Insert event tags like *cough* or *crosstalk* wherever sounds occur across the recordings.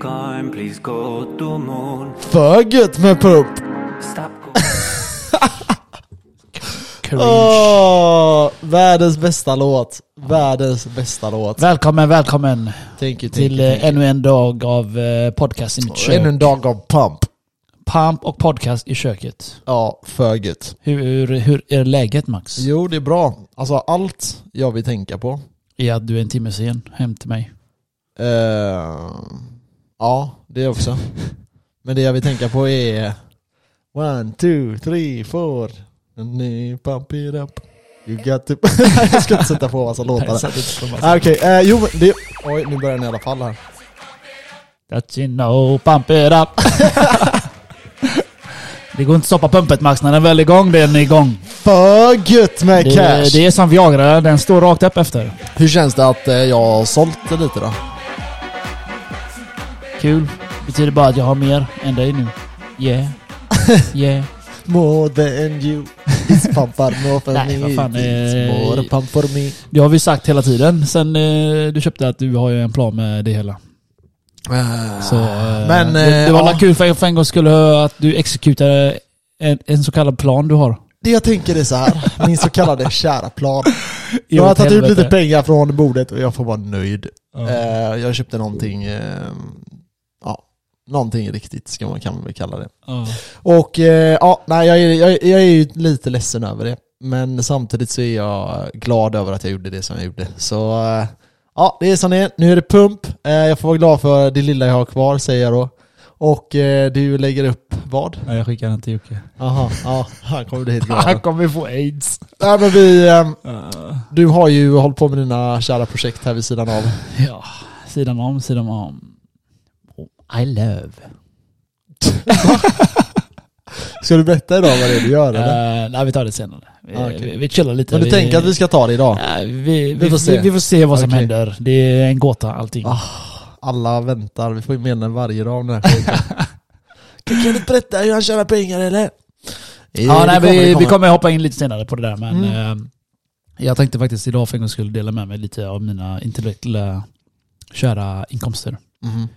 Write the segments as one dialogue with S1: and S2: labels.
S1: Crime, please go to moon.
S2: Föget med pupp!
S1: Stop.
S3: Cringe.
S2: Åh, världens bästa låt. Världens bästa låt.
S3: Välkommen, välkommen
S2: Thank you, thank
S3: till
S2: you,
S3: eh,
S2: thank you.
S3: ännu en dag av eh, podcast i mitt kök.
S2: Ännu en dag av pump.
S3: Pump och podcast i köket.
S2: Ja, föget.
S3: Hur, hur är läget Max?
S2: Jo, det är bra. Alltså allt jag vill tänka på.
S3: I att du är en timme sen hem till mig.
S2: Eh, ja, det *laughs* också. Men det jag vill tänka på är... One, two, three, four. And you pump it up. You got to... *laughs* jag ska inte sätta på massa *laughs* låtar.
S3: satt inte på massa-
S2: Ah, Okej, eh, jo men det... Oj, nu börjar den i alla fall här.
S3: That you know, pump it up. *laughs* det går inte att stoppa pumpet Max, när den väl är igång, den är igång.
S2: Föget med
S3: Det,
S2: cash!
S3: det är som Viagra, den står rakt upp efter.
S2: Hur känns det att eh, jag har sålt det lite då?
S3: Kul. Betyder bara att jag har mer än dig nu.
S2: *laughs*
S3: Yeah. Yeah.
S2: More than you is pumpar more for
S3: *laughs* Nej,
S2: me.
S3: vad fan,
S2: It's
S3: eh,
S2: more pump for me.
S3: Det har vi sagt hela tiden sen eh, du köpte att du har ju en plan med det hela. Så, eh,
S2: Men,
S3: det,
S2: eh,
S3: det var
S2: ja.
S3: ja. kul för, för en gång skulle höra att du exekutade en, en så kallad plan du har.
S2: Det jag tänker är så här, min så kallade kära
S3: *laughs*
S2: plan. Jag har
S3: åt
S2: tagit ut
S3: helvete.
S2: lite pengar från bordet och jag får vara nöjd.
S3: Ja.
S2: Eh, jag köpte någonting, eh, ja, någonting riktigt ska man, kan man väl kalla det.
S3: Ja.
S2: Och eh, ja, nej, jag, är, jag, är- jag är ju lite ledsen över det. Men samtidigt så är jag glad över att jag gjorde det som jag gjorde. Så eh, ja, det är som det är. Nu är det pump. Eh, jag får vara glad för det lilla jag har kvar, säger jag då. Och eh, du lägger upp vad?
S3: Nej, jag skickar den
S2: *laughs*
S3: till Jocke.
S2: Jaha, ja, han kommer *laughs* bli helt
S3: Han
S2: glad.
S3: kommer få aids.
S2: nej, men vi, ehm,
S3: Ah.
S2: du har ju hållit på med dina kära projekt här vid sidan av.
S3: Ja, sidan om, sidan om. I love.
S2: Ska du berätta idag vad det är du gör eller?
S3: Eh, nej, vi tar det senare. Vi,
S2: Ah, okej.
S3: vi, vi chillar lite.
S2: Men du
S3: vi,
S2: tänker att vi ska ta det idag?
S3: Nej, vi, vi, vi, får se. Vi, får se vad som
S2: Okej.
S3: händer. Det är en gåta allting.
S2: Ah. Alla väntar, vi får ju med den varje dag om den här
S3: *laughs*
S2: skiten. kan, kan du berätta hur han tjänar pengar eller?
S3: Ja,
S2: Eh,
S3: nej,
S2: det
S3: vi,
S2: det
S3: vi kommer hoppa in lite senare på det där men
S2: Mm.
S3: ehm, jag tänkte faktiskt idag för en gång skulle dela med mig lite av mina intellektuella kära inkomster
S2: Mhm.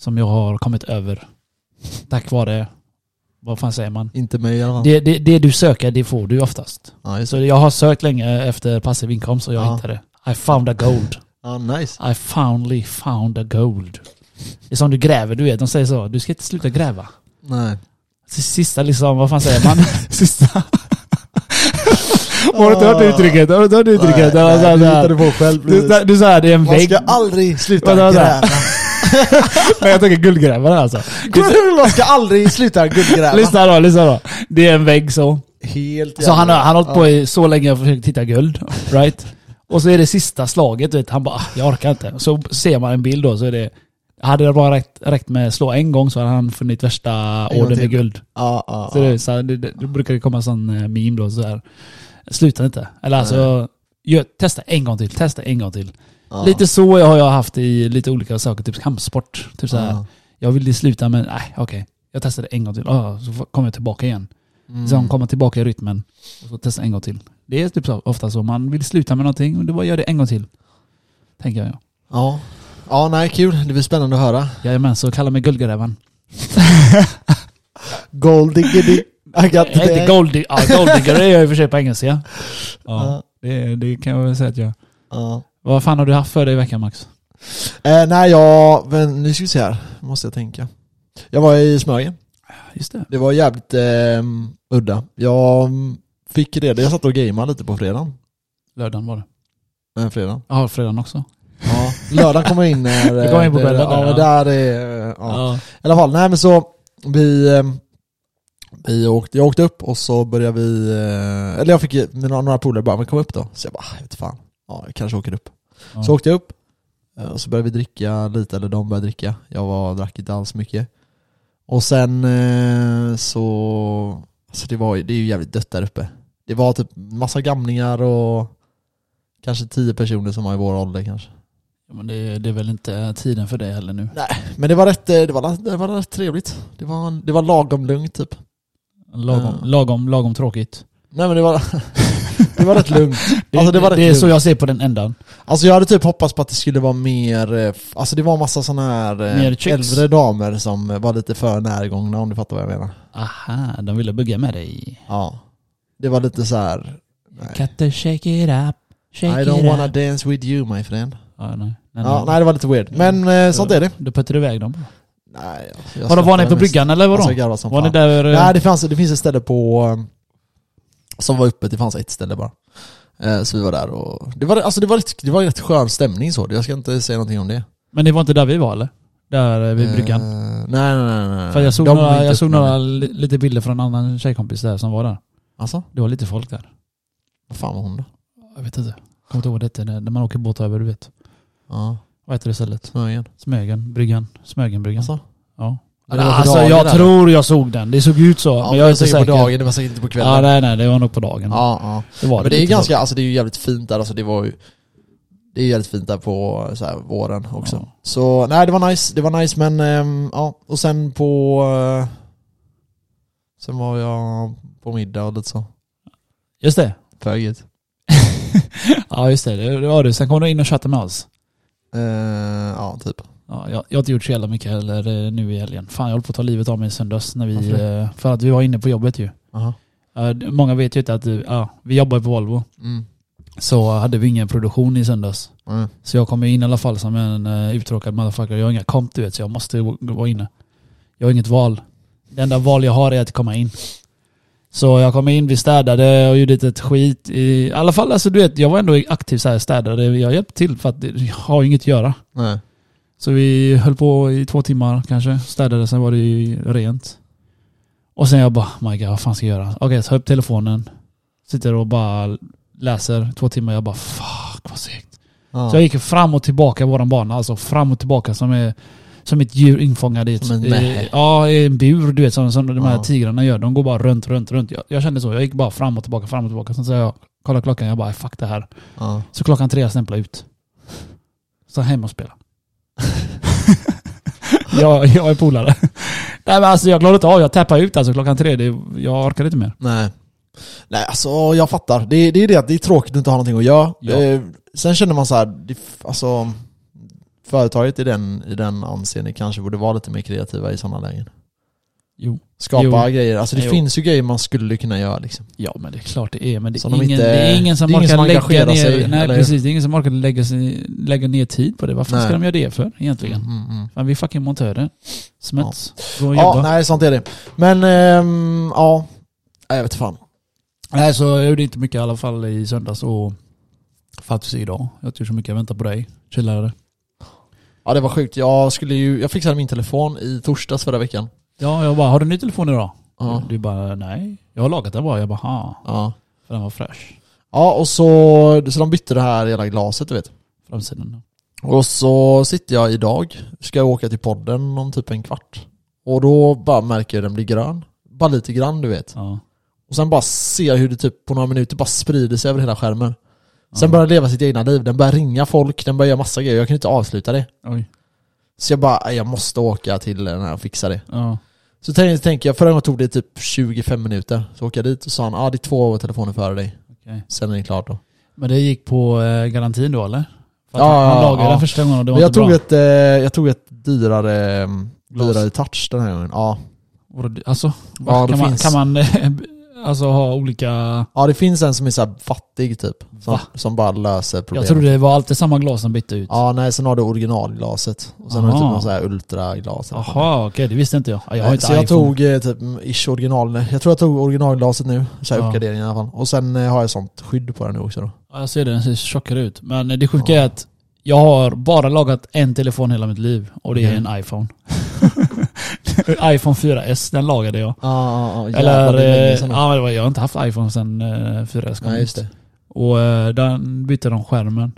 S3: som jag har kommit över tack vare, vad fan säger man?
S2: Inte mig i alla fall.
S3: Det, det, det du söker det får du oftast.
S2: Ja, just det.
S3: Så jag har sökt länge efter passiv inkomst och jag
S2: Ja.
S3: hittade. I found a gold.
S2: Ja, nice.
S3: I finally found a gold. Det är som du gräver, du vet. De säger så. Du ska inte sluta gräva.
S2: Nej.
S3: Sista liksom, vad fan säger man? *laughs* Sista... Har du inte hört det uttrycket? Har du inte hört det uttrycket? Ah. Det var så här-
S2: du
S3: så här-
S2: hittade på själv.
S3: Du, där- du sa det är en
S2: Man
S3: vägg.
S2: ska aldrig sluta
S3: Vänta, vänta.
S2: gräva.
S3: Nej, jag tänker guldgrävare alltså.
S2: Man ska aldrig sluta guldgräva.
S3: *laughs* Lyssna då, lyssna då. Det är en vägg så.
S2: Helt
S3: Så
S2: jävla-
S3: han har, han har hållit på i så länge jag försökt hitta guld. Right? Och så är det sista slaget, du vet, han bara "Ah, jag orkar inte. Så ser man en bild då så är det hade det bara räckt, räckt med slå en gång så hade han funnit värsta
S2: En gång
S3: orden med
S2: till.
S3: guld.
S2: Ja, ja,
S3: Så
S2: ja.
S3: det, så här, det, det, det brukar det komma en sån eh, meme då, så här. Sluta inte. Eller alltså, gör, testa en gång till, testa en gång till.
S2: Ja.
S3: Lite så har jag haft i lite olika saker, typ kampsport. Typ så här,
S2: Ja.
S3: jag ville sluta men nej, okej. Jag testade en gång till, ah, så f- kom jag tillbaka igen.
S2: Mm.
S3: Så han kommer tillbaka i rytmen och så testa en gång till. Det är typ så, ofta så, man vill sluta med någonting och det bara gör det en gång till. Tänker jag.
S2: Ja. Ja, nej, kul. Det blir spännande att höra.
S3: Jajamän, så kalla mig guldgrävaren.
S2: Gold diggity. I got
S3: *laughs* Jag heter
S2: the
S3: Golddigger, ja Golddigger är jag i och för sig på engelska.
S2: *laughs* Ja.
S3: Ja, det, det kan jag väl säga att jag
S2: Ja.
S3: Vad fan har du haft för dig i veckan Max?
S2: Eh, nej, jag... Men, nu ska vi se här. Måste jag tänka. Jag var i Smögen.
S3: Just det.
S2: Det var jävligt eh, udda. Jag mm, fick reda... Jag satt och gameade lite på fredagen.
S3: Lördagen var det.
S2: Den fredagen.
S3: Ja, fredagen också.
S2: Ja. Lördagen kom jag in när...
S3: Du kom in på
S2: eh, det-
S3: kvällen
S2: Ja,
S3: där,
S2: men där är... eh, Ja.
S3: Ja.
S2: I alla fall, nej men så... Vi... eh, Vi åkte, jag åkte upp och så började vi... eh, Eller jag fick ju- mina några polare bara, men kom upp då. Så jag bara, "Ah, jag vet fan. Ja, jag kanske åker upp.
S3: Ja.
S2: Så åkte jag upp eh, och så började vi dricka lite, eller de började dricka. Jag var, drack inte alls mycket. Och sen eh, så, alltså det, var, ju- det är ju jävligt dött där uppe. Det var typ massa gamlingar och kanske tio personer som var i vår ålder kanske.
S3: Ja, Men det, det är väl inte tiden för dig heller nu?
S2: Men det var rätt, eh, det var, det var rätt trevligt. Det var, en- det var lagom lugnt typ.
S3: Lagom,
S2: Ja.
S3: lagom, lagom tråkigt. *laughs*
S2: Nej men det var, Det var rätt lugnt.
S3: Det,
S2: Alltså, det
S3: det,
S2: var rätt
S3: är
S2: lugnt.
S3: så jag ser på den ändan.
S2: Alltså jag hade typ hoppats på att det skulle vara mer, eh, f- alltså det var massa sådana här eh,
S3: Mer chicks.
S2: äldre damer som eh, var lite för närgångna om du fattar vad jag menar.
S3: Aha, de ville bugga med dig.
S2: Ja. Det var lite så här. Nej.
S3: Cut the shake it up. Shake
S2: I
S3: it
S2: don't wanna
S3: up.
S2: dance with you my friend.
S3: Ja, nej. Nej,
S2: Ja, nej det var lite weird. Men eh, sånt är det.
S3: Då puttar du iväg dem.
S2: Nej, alltså,
S3: Var, var ni på bryggan eller
S2: Var
S3: vadå?
S2: alltså, jag garvade som
S3: Var ni
S2: fan.
S3: där? eh,
S2: Nej det, fanns, det finns ett ställe på, eh, som var öppet, det fanns ett ställe bara. Eh, Så vi var där och, det var, alltså det var, rätt, det var rätt skön stämning så, jag ska inte säga någonting om det.
S3: Men det var inte där vi var eller? Där eh, vid bryggan?
S2: Eh, nej, nej, nej, nej.
S3: För jag såg,
S2: De var
S3: några,
S2: inte
S3: jag såg
S2: öppna
S3: några
S2: än.
S3: li, lite bilder från en annan tjejkompis där som var där.
S2: Alltså,
S3: Det var lite folk där.
S2: vad fan var hon då?
S3: Jag vet inte. Kommer inte ihåg det heter, när man åker båt över, du vet.
S2: Ja,
S3: Vad heter det stället?
S2: Smögen.
S3: Smögen, bryggan, Smögenbryggan.
S2: Alltså.
S3: ja.
S2: Men det var på
S3: alltså
S2: dagen
S3: jag
S2: där.
S3: tror jag såg den. Det såg ut så.
S2: Ja,
S3: men jag är inte
S2: säkert
S3: säker.
S2: på dagen, det var säkert inte på kvällen.
S3: ja, nej, nej, det var nog på dagen.
S2: ja, ja.
S3: Det var
S2: Men det är ju
S3: lite
S2: ganska, alltså det är ju jävligt fint där, alltså det var ju det är ju jävligt fint där på så här, våren också.
S3: Ja.
S2: Så nej, det var nice, det var nice men ehm, ja, och sen på... eh, sen var jag på middag och lite så.
S3: så. Just det.
S2: Fögigt.
S3: Ja, just det. Det det var du. Sen kom du in och tjatade med oss.
S2: Eh, ja, typ.
S3: Ja, jag, jag har inte gjort så jävla mycket heller eh, nu i helgen. Fan, jag håller på att ta livet av mig i söndags. När vi,
S2: Varför
S3: eh, för att vi var inne på jobbet ju.
S2: Aha.
S3: Eh, d- Många vet ju inte att eh, ja, vi jobbar på Volvo.
S2: Mm.
S3: Så hade vi ingen produktion i söndags.
S2: Mm.
S3: Så jag kom ju in i alla fall som en uh, uttråkad motherfucker. Jag har inga komp du vet, så jag måste gå- vara inne. Jag har inget val. Det enda val jag har är att komma in. Så jag kom in, vi städade och gjorde ett skit. I alla fall, alltså, du vet, jag var ändå aktiv så här, städade. Jag hjälpte till för att det- jag har ju inget att göra.
S2: Nej.
S3: Så vi höll på i två timmar kanske, städade, sen var det ju rent. Och sen jag bara, "Oh my god, vad fan ska jag göra? Okej, ta upp telefonen. Sitter och bara läser två timmar. Jag bara, fuck vad segt.
S2: Ja.
S3: Så jag gick fram och tillbaka i våran bana, alltså fram och tillbaka som, är, som ett djur infångad i ett,
S2: Som en
S3: i-
S2: mäh.
S3: ja, i en bur, du vet som, som de här
S2: Ja.
S3: tigrarna gör. De går bara runt, runt, runt. Jag, jag kände så, jag gick bara fram och tillbaka, fram och tillbaka. Sen sa jag, kolla klockan, jag bara "Äh, fuck det här.
S2: ja.
S3: Så klockan tre jag stämplade ut. Så hem och spela. *laughs* jag, jag är polare. *laughs* Nej men alltså jag klarade inte av, jag tappade ut alltså klockan tre. Det, jag orkade inte mer.
S2: Nej. Nej, alltså jag fattar. Det, det är det att det är tråkigt att inte ha någonting att göra.
S3: Ja.
S2: Eh, sen känner man så här, det, alltså företaget i den, i den anseende kanske borde vara lite mer kreativa i sådana lägen.
S3: Jo.
S2: Skapa grejer. Alltså det
S3: Jo.
S2: finns ju grejer man skulle kunna göra liksom.
S3: Ja men det är klart det är, men det
S2: Som
S3: är,
S2: de
S3: ingen,
S2: inte-
S3: det är ingen som
S2: det är ingen
S3: orkar
S2: som
S3: lägga
S2: engagerar
S3: ner,
S2: sig,
S3: nej,
S2: eller hur?
S3: precis, det är ingen som orkar lägga, sig, lägga ner tid på det. Varför
S2: Nej.
S3: ska de göra det för egentligen?
S2: Mm, mm.
S3: Fan, vi är fucking montörer. Smuts. Gå och
S2: Ja,
S3: jobba. nej.
S2: nej sånt är det. Men ehm, ja, Nej, jag vet fan.
S3: så jag gjorde inte mycket i alla fall i söndags och faktiskt idag. Jag har inte gjort så mycket, jag väntar på dig. Chillare.
S2: Ja det var sjukt. Jag skulle ju, jag fixade min telefon i torsdags förra veckan.
S3: Ja, jag bara, har du en ny telefon idag?
S2: Ja.
S3: Du bara, nej. Jag har lagat den bara. Jag bara, ha.
S2: Ja,
S3: För den var fräsch.
S2: ja och så, så de bytte det här hela glaset du vet.
S3: Framsidan.
S2: Och så sitter jag idag, ska jag åka till podden om typ en kvart. Och då bara märker jag den blir grön. Bara lite grann du vet.
S3: Ja.
S2: Och sen bara ser jag hur det typ på några minuter bara sprider sig över hela skärmen. Sen
S3: Ja.
S2: börjar den leva sitt egna liv. Den börjar ringa folk, den börjar göra massa grejer. Jag kan inte avsluta det.
S3: Oj.
S2: Så jag bara, "Nej, jag måste åka till den här och fixa det.
S3: Ja.
S2: Så tänker tänker jag, förra gången tog det typ 25 minuter. Så åker jag dit och sa han, ah, det är två telefoner före dig.
S3: Okej.
S2: Sen är det klart då.
S3: Men det gick på eh, garantin då eller? För att
S2: Ja,
S3: han- han
S2: ja,
S3: lagade
S2: ja.
S3: den första gången och det var
S2: Men jag
S3: inte
S2: tog,
S3: bra.
S2: ett, eh, jag tog ett dyrare,
S3: Glas.
S2: dyrare touch den här gången. Ja.
S3: Och det- Alltså,
S2: Ja, det
S3: kan, man,
S2: finns.
S3: kan man alltså ha olika...
S2: Ja det finns en som är så här fattig typ. Som,
S3: Va?
S2: som bara löser problem.
S3: Jag trodde det var alltid samma glas som bytte ut.
S2: Ja nej, sen har du originalglaset. Och sen har du typ
S3: Aha.
S2: någon så här ultraglas. eller något.
S3: Jaha, okej, det visste inte jag. Ja, Jag har inte
S2: så jag
S3: iPhone.
S2: tog eh, typ mm, ish original, jag tror jag tog originalglaset nu, så här
S3: Ja.
S2: uppgradering i alla fall. Och sen eh, har jag sånt skydd på den nu också då.
S3: Ja, jag ser det, den ser tjockare ut. Men det sjuka är att jag har bara lagat en telefon hela mitt liv och det är
S2: Okej.
S3: en iPhone. *laughs* iPhone 4S, den lagade jag.
S2: Ja,
S3: Eller, eh, ja, men det var- jag har inte haft iPhone sedan eh, 4S kom
S2: Nej
S3: ut.
S2: just det.
S3: Och eh, den bytte de skärmen.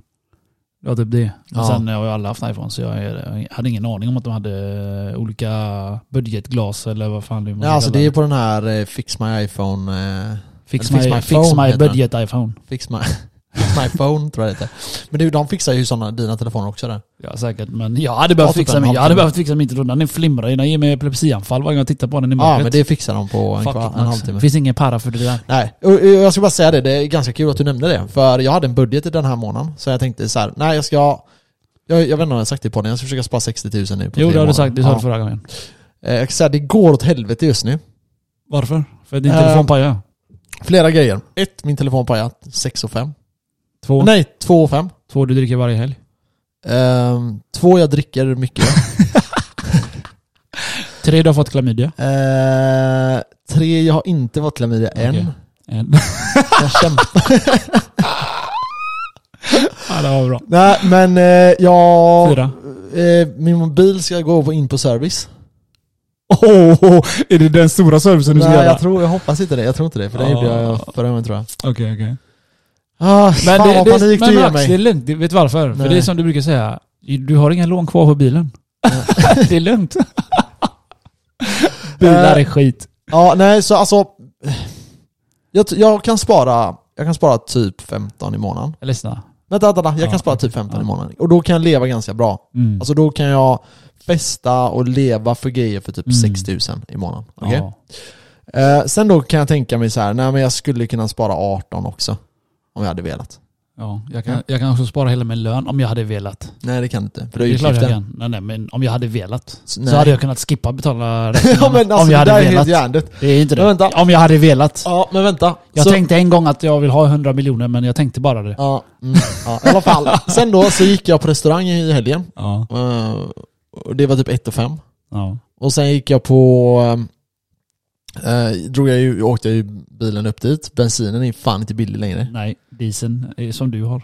S3: Det var typ det. Men
S2: Ja.
S3: sen eh, har jag aldrig haft iPhone så jag, eh, jag hade ingen aning om att de hade eh, olika budgetglas eller vad fan det är man
S2: Ja, alltså
S3: kallar
S2: det är på den här eh, Fix My iPhone... Eh,
S3: Fix
S2: eller
S3: my,
S2: Fix My
S3: fix
S2: Phone
S3: my
S2: heter den.
S3: budget iPhone.
S2: fix My... *laughs* My phone tror jag det heter. Men du, de fixar ju sådana, dina telefoner också där.
S3: Ja säkert, men jag hade behövt
S2: Ja, typ
S3: fixa
S2: en
S3: min. Jag hade
S2: halvtimme.
S3: behövt fixa min rulla. Den flimrar ju, den ger mig epilepsianfall varje gång jag tittar på den
S2: Ja,
S3: i
S2: men
S3: mörkret.
S2: det fixar de på en,
S3: Fuck
S2: kvar,
S3: it,
S2: en
S3: Max.
S2: halvtimme.
S3: Finns ingen para för det där.
S2: Nej, och, och jag ska bara säga det, det är ganska kul att du nämnde det. För jag hade en budget i den här månaden, så jag tänkte så här, nej jag ska... Jag, jag vet inte om jag har sagt det på den, jag ska försöka spara 60 000 nu på tre
S3: Jo det har du
S2: månader.
S3: sagt, det sa du
S2: Ja.
S3: förra gången.
S2: Eh, Jag kan säga, det går åt helvete just nu.
S3: Varför? För din
S2: Eh,
S3: telefon pajar.
S2: Flera grejer. Ett, min telefon pajade 6 och fem.
S3: Två,
S2: Nej, 2 och fem.
S3: två du dricker varje helg.
S2: Ehm, två, jag dricker
S3: *laughs*
S2: mycket.
S3: Tre du har fått klamydia.
S2: Ehm, tre, jag har inte varit klamydia än.
S3: Okej. En.
S2: Jag kämpar.
S3: *laughs* ja det var bra.
S2: Nej, men eh, jag...
S3: Fyra.
S2: Eh, min mobil ska gå på in på service.
S3: Åh, är det den stora servicen
S2: Nej, jag, tror, jag hoppas inte det. Jag tror inte det, för det
S3: Ja.
S2: gjorde jag förra gången tror jag.
S3: Okej, okej.
S2: Ah, men
S3: Men
S2: fan
S3: det,
S2: vad
S3: det,
S2: panik
S3: men
S2: du ger
S3: Max, det är
S2: mig.
S3: lugnt. Du vet varför? För
S2: Nej.
S3: det är som du brukar säga. Du har inga lån kvar på bilen. *laughs* det är lugnt. Eh. Bilar är skit.
S2: Ja, nej så alltså. Jag, t- jag kan spara, jag kan spara typ 15 i månaden.
S3: Lyssna.
S2: Vänta, vänta, vänta. Jag
S3: Ja,
S2: kan spara typ 15 i
S3: Ja.
S2: månaden. Och då kan jag leva ganska bra.
S3: Mm.
S2: Alltså då kan jag festa och leva för grejer för typ
S3: Mm.
S2: 6000 i månaden. Okej?
S3: Ja.
S2: Eh, sen då kan jag tänka mig så här, nej men jag skulle kunna spara 18 också. Om jag hade velat.
S3: Ja, jag, kan, jag kan också spara hela min lön om jag hade velat.
S2: Nej det kan du inte, för du
S3: Det
S2: har
S3: är klart jag
S2: utgifter.
S3: kan. Nej, nej, men om jag hade velat
S2: Så-
S3: så
S2: nej.
S3: hade jag kunnat skippa
S2: *laughs*
S3: betala
S2: ja
S3: räkningarna.
S2: men alltså
S3: om jag
S2: det där
S3: hade
S2: är helt
S3: velat.
S2: hjärndött.
S3: det är inte det.
S2: Men vänta.
S3: Om jag hade velat.
S2: Ja men vänta.
S3: Jag
S2: Så-
S3: tänkte en gång att jag vill ha 100 miljoner men jag tänkte bara det.
S2: Ja, mm, ja, i alla fall. Sen då så gick jag på restaurang i helgen.
S3: Ja.
S2: Eh, och det var typ 1 och 5.
S3: ja.
S2: Och sen gick jag på... eh, drog jag ju, åkte jag ju bilen upp dit. Bensinen är fan inte billig längre.
S3: Nej, dieseln är som du har.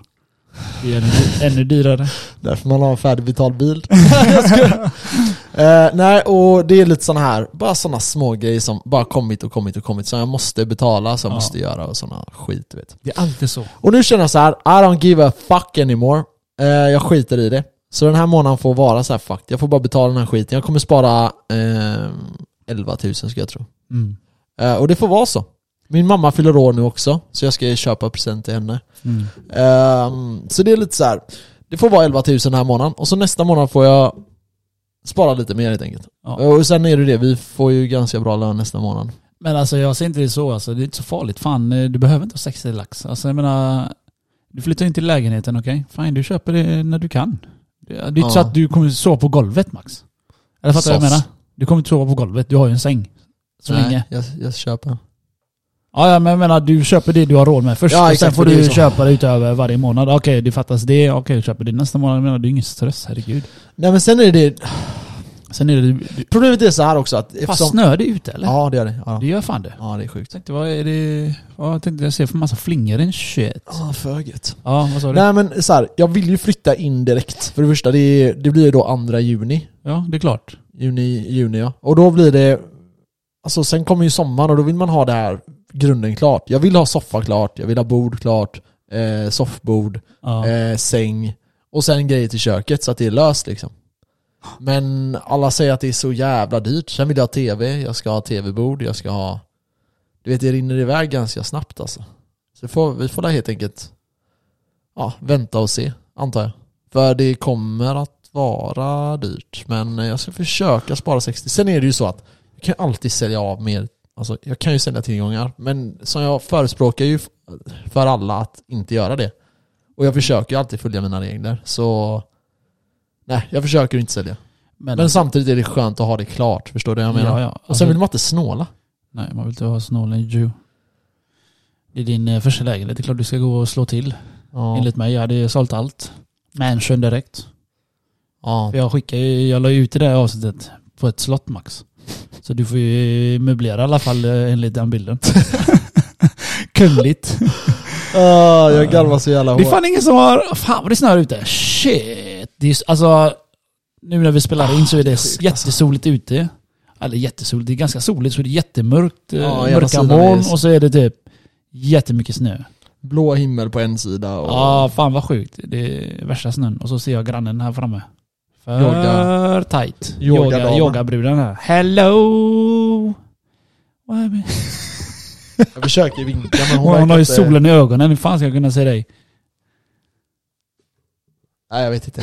S3: Det är ännu, ännu dyrare.
S2: Därför man har en färdigbetald bil. *laughs* Jag skojar. Eh, nej, och det är lite sådana här, bara sådana små grejer som bara kommit och kommit och kommit. Som jag måste betala, som jag
S3: Ja.
S2: måste göra och sådana skit du vet.
S3: Det är alltid så.
S2: Och nu känner jag så här, I don't give a fuck anymore. Eh, jag skiter i det. Så den här månaden får vara så här fuck. Jag får bara betala den här skiten. Jag kommer spara eh, 11 000 ska jag tro.
S3: Mm.
S2: Eh, och det får vara så. Min mamma fyller år nu också, så jag ska ju köpa present till henne.
S3: Mm.
S2: Ehm, så det är lite så här. det får vara 11 000 den här månaden. Och så nästa månad får jag spara lite mer helt enkelt.
S3: Ja.
S2: Och sen är det det, vi får ju ganska bra lön nästa månad.
S3: Men alltså jag ser inte det så alltså. Det är inte så farligt. Fan, eh, du behöver inte ha 60 lax. Alltså jag menar, du flyttar inte till lägenheten okej? Fine, du köper det när du kan. Det det är inte
S2: Ja.
S3: så att du kommer sova på golvet Max. Eller fattar du vad jag
S2: Soss.
S3: menar? Du kommer inte sova på golvet, du har ju en säng. Så
S2: Nej,
S3: länge.
S2: Jag, jag köper.
S3: Ja, ja, men jag menar du köper det du har råd med först
S2: Ja,
S3: och sen
S2: exakt,
S3: får
S2: det är ju
S3: du
S2: så.
S3: köpa det utöver varje månad. Okej, det fattas det. Okej, du köper det nästa månad. Jag menar, det är ingen stress, herregud.
S2: Nej men sen är det,
S3: Sen är det... Du,
S2: problemet är så här också att
S3: fast snöar det ute eller?
S2: Ja det gör det. Ja,
S3: Det gör fan det.
S2: ja det är sjukt.
S3: Jag tänkte, vad är det... Ja, jag tänkte jag ser för massa flingor i en shit.
S2: Ja, för gött.
S3: Ja, vad sa du?
S2: Nej men så här, jag vill ju flytta in direkt. För det första, det, är- det blir ju då andra juni.
S3: Ja, det är klart.
S2: Juni, juni ja. Och då blir det... Alltså sen kommer ju sommaren och då vill man ha det här grunden klart. Jag vill ha soffa klart, jag vill ha bord klart, eh, soffbord,
S3: Ja.
S2: eh, säng och sen grejer till köket så att det är löst liksom. Men alla säger att det är så jävla dyrt. Sen vill jag ha tv, jag ska ha tv-bord, jag ska ha... Du vet, det rinner iväg ganska snabbt alltså. Så får, vi får där helt enkelt ja, vänta och se, antar jag. För det kommer att vara dyrt, men jag ska försöka spara 60. Sen är det ju så att jag kan alltid sälja av mer. Alltså, jag kan ju sälja tillgångar, men som jag förespråkar ju f- för alla att inte göra det. Och jag försöker ju alltid följa mina regler, så nej, jag försöker inte sälja.
S3: men,
S2: Men samtidigt är det skönt att ha det klart, förstår du vad jag menar?
S3: Ja, ja.
S2: Och
S3: Alltså,
S2: sen vill man inte snåla.
S3: Nej, man vill inte ha snålen Jew. Det är din eh, första lägenhet. Det är klart du ska gå och slå till.
S2: Ja,
S3: Enligt mig, jag hade sålt allt. Mansion direkt.
S2: ja.
S3: För Jag skickade ju- jag la ju ut det där avsnittet på ett slott max. Så du får ju möblera i alla fall eh, enligt den bilden. Kungligt.
S2: Ah, jag garvar så jävla
S3: Det
S2: hårt.
S3: är fan ingen som har... Fan vad det snöar ute. Shit. Det är, s- alltså, nu när vi spelar in så är det s-
S2: sjukt, alltså.
S3: jättesoligt ute. Eller jättesoligt, det är ganska soligt så det är jättemörkt. eh,
S2: Ja, ena
S3: mörka
S2: sidan
S3: moln
S2: är s-
S3: och så är det typ jättemycket snö.
S2: Blå himmel på en sida och...
S3: Ja, fan vad sjukt. Det är värsta snön. Och så ser jag grannen här framme. För
S2: Yoga.
S3: tight.
S2: Yogadamen.
S3: Yoga, yogabruden här. Hello! Vad är det?
S2: Jag försöker vinka men hon
S3: Hon,
S2: verkar
S3: har ju
S2: inte-
S3: solen i ögonen. Hur fan ska jag kunna se dig?
S2: Nej jag vet
S3: *laughs*
S2: inte.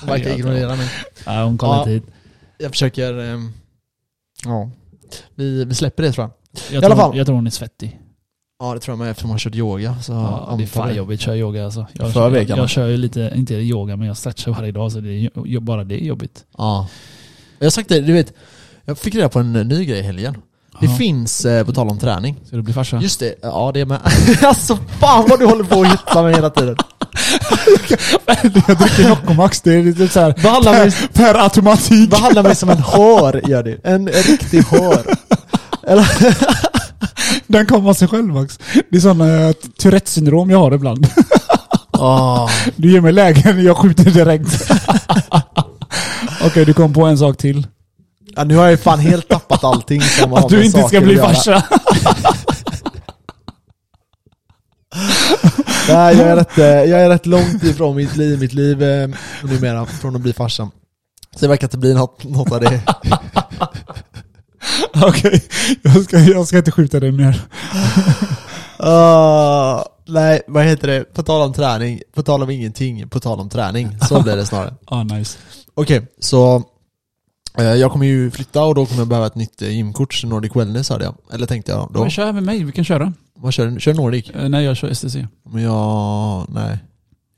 S2: Hon verkar
S3: Jag
S2: ignorera mig.
S3: Nej, hon kommer
S2: Ja.
S3: inte hit.
S2: Jag försöker... ehm, ja. Vi, vi släpper det tror jag.
S3: Jag,
S2: I alla
S3: tror,
S2: fall.
S3: jag tror hon är svettig.
S2: Ja det tror jag med eftersom hon har kört yoga. Så
S3: Ja, det är
S2: antar
S3: fan
S2: jag.
S3: jobbigt att köra yoga alltså. Jag,
S2: För
S3: jag,
S2: veckan.
S3: jag kör ju lite, inte yoga men jag stretchar varje dag så det är ju- ju, bara det är jobbigt.
S2: Ja. Jag har sagt det, du vet. Jag fick reda på en eh, ny grej i helgen. Det
S3: Ja.
S2: finns, eh, på tal om träning.
S3: Ska du bli farsa?
S2: Just det, ja det är med. *laughs* alltså fan vad du håller på att hitta mig hela tiden.
S3: Jag dricker Noccomax, det är lite såhär
S2: *laughs* Behandla mig,
S3: per automatik.
S2: behandla mig som en hår gör du. En, en riktig hår.
S3: Den kommer av sig själv Max. Det är sån uh, Tourettes syndrom jag har ibland.
S2: Oh.
S3: Du ger mig lägen, jag skjuter *laughs* direkt. Okej, du kom på en sak till.
S2: Ja, nu har jag ju fan helt tappat allting som har
S3: Att du
S2: med
S3: inte
S2: saker
S3: ska
S2: att
S3: bli
S2: göra.
S3: farsa.
S2: Nej, jag är, rätt, eh, jag är rätt långt ifrån mitt liv, mitt liv eh, numera, från att bli farsan. Så det verkar inte bli något, något av det.
S3: *laughs* Okej, jag, ska, jag ska inte skjuta dig mer.
S2: Ah, nej, vad heter det? På tal om träning, på tal om ingenting, på tal om träning. Så
S3: *laughs*
S2: blir det snarare.
S3: Ah, nice.
S2: Okej, så eh, jag kommer ju flytta och då kommer jag behöva ett nytt eh, gymkort, så Nordic Wellness hade jag. Eller tänkte jag då.
S3: Men kör med mig, vi kan köra.
S2: Vad kör du? Kör Nordic?
S3: Eh, nej, jag kör STC.
S2: Men jag, nej.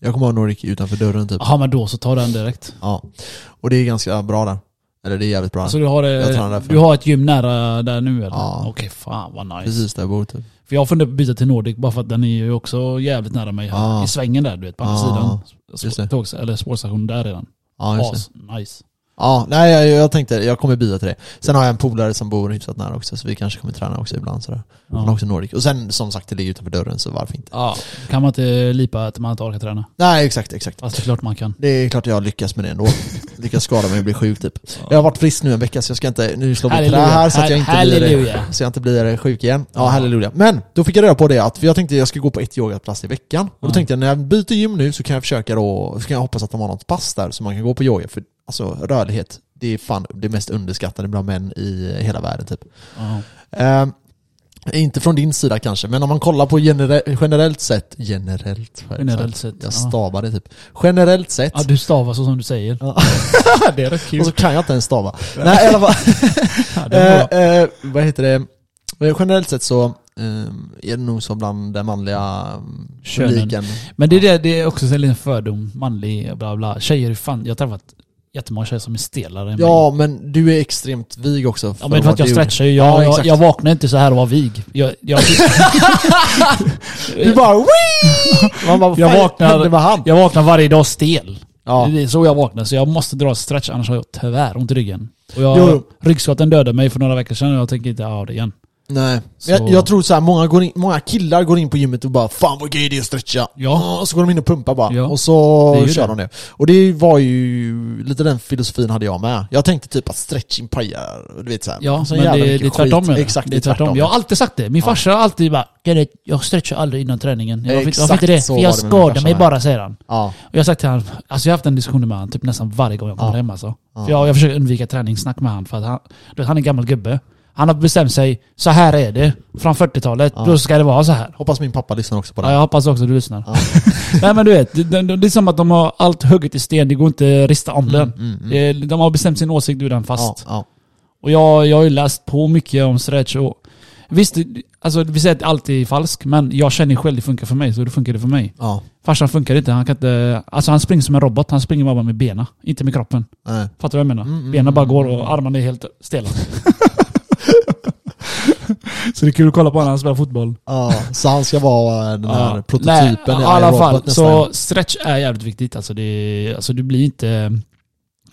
S2: Jag kommer ha Nordic utanför dörren typ.
S3: Jaha, men då så tar den direkt.
S2: Ja. Och det är ganska bra där. Eller det är jävligt bra.
S3: Så du har, eh,
S2: Jag tränar därför.
S3: du har ett gym nära där nu eller?
S2: Ja.
S3: Okej, fan vad nice.
S2: Precis där jag bor typ.
S3: För jag funderar på att byta till Nordic bara för att den är ju också jävligt nära mig här.
S2: Ah.
S3: I svängen där du vet, på andra
S2: Ah,
S3: sidan.
S2: just det.
S3: Tåg, eller spårstationen där redan.
S2: Ja, just det.
S3: As, nice.
S2: Ja, nej jag, jag tänkte, jag kommer bidra till det. Sen har jag en polare som bor hyfsat nära också, så vi kanske kommer träna också ibland sådär.
S3: Ja.
S2: Han har också Nordic. Och sen som sagt, det ligger utanför dörren, så varför inte?
S3: Ja, kan man inte lipa att man inte orkar träna?
S2: Nej, exakt, exakt.
S3: Fast det är klart man kan.
S2: Det är klart jag lyckas med det ändå. lyckas skada mig och bli sjuk typ. Jag har varit frisk nu en vecka så jag ska inte, nu slår vi till det
S3: Halleluja.
S2: här så att jag inte blir,
S3: Halleluja.
S2: så jag inte blir eh, sjuk igen. Ja, halleluja. Men, då fick jag reda på det att, för jag tänkte jag ska gå på ett yogapass i veckan. Och då
S3: Ja.
S2: tänkte jag när jag byter gym nu så kan jag försöka då, så kan jag hoppas att de har något pass där så man kan gå på yoga. För alltså rörlighet, det är fan det mest underskattade bland män i hela världen typ.
S3: Ja.
S2: Ehm, inte från din sida kanske, men om man kollar på genere- generellt sett, generellt,
S3: Generellt sett.
S2: jag
S3: ja.
S2: stavar det typ. Generellt sett,
S3: ja, du stavar så som du säger. *laughs* det är rätt kul.
S2: och så kan jag inte ens stava. *laughs* Nej, i alla fall.
S3: Ja, det är bra.
S2: Eh, eh, vad heter det? Eh, Generellt sett så ehm, är det nog så bland den manliga um,
S3: Könen. Mm.
S2: publiken.
S3: Men det är, det, det är också en liten fördom, manlig, bla bla. Tjejer är fan, jag har träffat jättemånga tjejer som är stelare än mig.
S2: Ja, men du är extremt vig också.
S3: Ja men för att jag
S2: du-
S3: stretchar ju.
S2: Ja,
S3: Jag, jag,
S2: exakt.
S3: jag vaknar inte så här och var vig. Jag, jag,
S2: *laughs* Du bara Wii! Man bara, vad
S3: Jag
S2: fan
S3: vaknar-
S2: hände med han?
S3: jag vaknar varje dag stel.
S2: Ja.
S3: Det är så jag vaknar. Så jag måste dra stretch annars har jag tyvärr ont i ryggen. Och jag,
S2: Jo.
S3: ryggskotten dödade mig för några veckor sedan och jag tänker inte ha det igen.
S2: Nej.
S3: Så-
S2: Jag, jag tror så här, många, går in, många killar går in på gymmet och bara 'Fan vad gay det är att stretcha' Ah,
S3: Ja.
S2: Och så går de in och pumpar bara,
S3: Ja.
S2: och
S3: Det är
S2: så
S3: ju
S2: kör
S3: det.
S2: de det. Och det var ju, lite den filosofin hade jag med. Jag tänkte typ att stretching pajar, du vet såhär.
S3: Ja, men det, det är tvärtom. eller?
S2: Exakt,
S3: det är tvärtom. Jag har alltid sagt det. Min
S2: Ja.
S3: farsa har alltid bara "Gerrit, jag stretchar aldrig innan träningen. Jag vet, varför
S2: Exakt
S3: inte det?
S2: så
S3: För
S2: var
S3: jag
S2: det med min
S3: skadar
S2: farsa
S3: mig
S2: med."
S3: bara, säger han.
S2: Ja,
S3: Och jag har sagt till han, alltså jag har haft en diskussion med han typ nästan varje gång jag kommer
S2: Ja.
S3: hem alltså.
S2: Ja.
S3: För jag, jag försöker undvika träningssnack med han för att han, du vet, han är en gammal gubbe. Han har bestämt sig, så här är det. Från 40-talet,
S2: Ja.
S3: då ska det vara så här.
S2: hoppas min pappa lyssnar också på det.
S3: Ja, jag hoppas också du lyssnar.
S2: Ja.
S3: *laughs* Nej men du vet, det, det, det är som att de har allt hugget i sten, det går inte att rista om den.
S2: mm, mm.
S3: Det- De har bestämt sin åsikt, du är den fast.
S2: Ja,
S3: Och jag, jag har ju läst på mycket om stretch och Visst, det- alltså vi säger att allt är falskt, men jag känner själv det funkar för mig, så då funkar det för mig.
S2: ja,
S3: Farsan funkar inte, han kan inte... Alltså han springer som en robot, han springer bara med benen, inte med kroppen.
S2: ja. Nej.
S3: Fattar du vad jag menar?
S2: Mm, mm,
S3: benen bara går och armarna är helt stela. *laughs* så det är kul att kolla på när han spelar fotboll.
S2: Ja, så han ska vara eh, den här
S3: Ja.
S2: prototypen
S3: Nej, i
S2: i
S3: alla
S2: Iron
S3: fall.
S2: Robot nästa
S3: Så
S2: gång.
S3: stretch är jävligt viktigt. Alltså, det, alltså du blir inte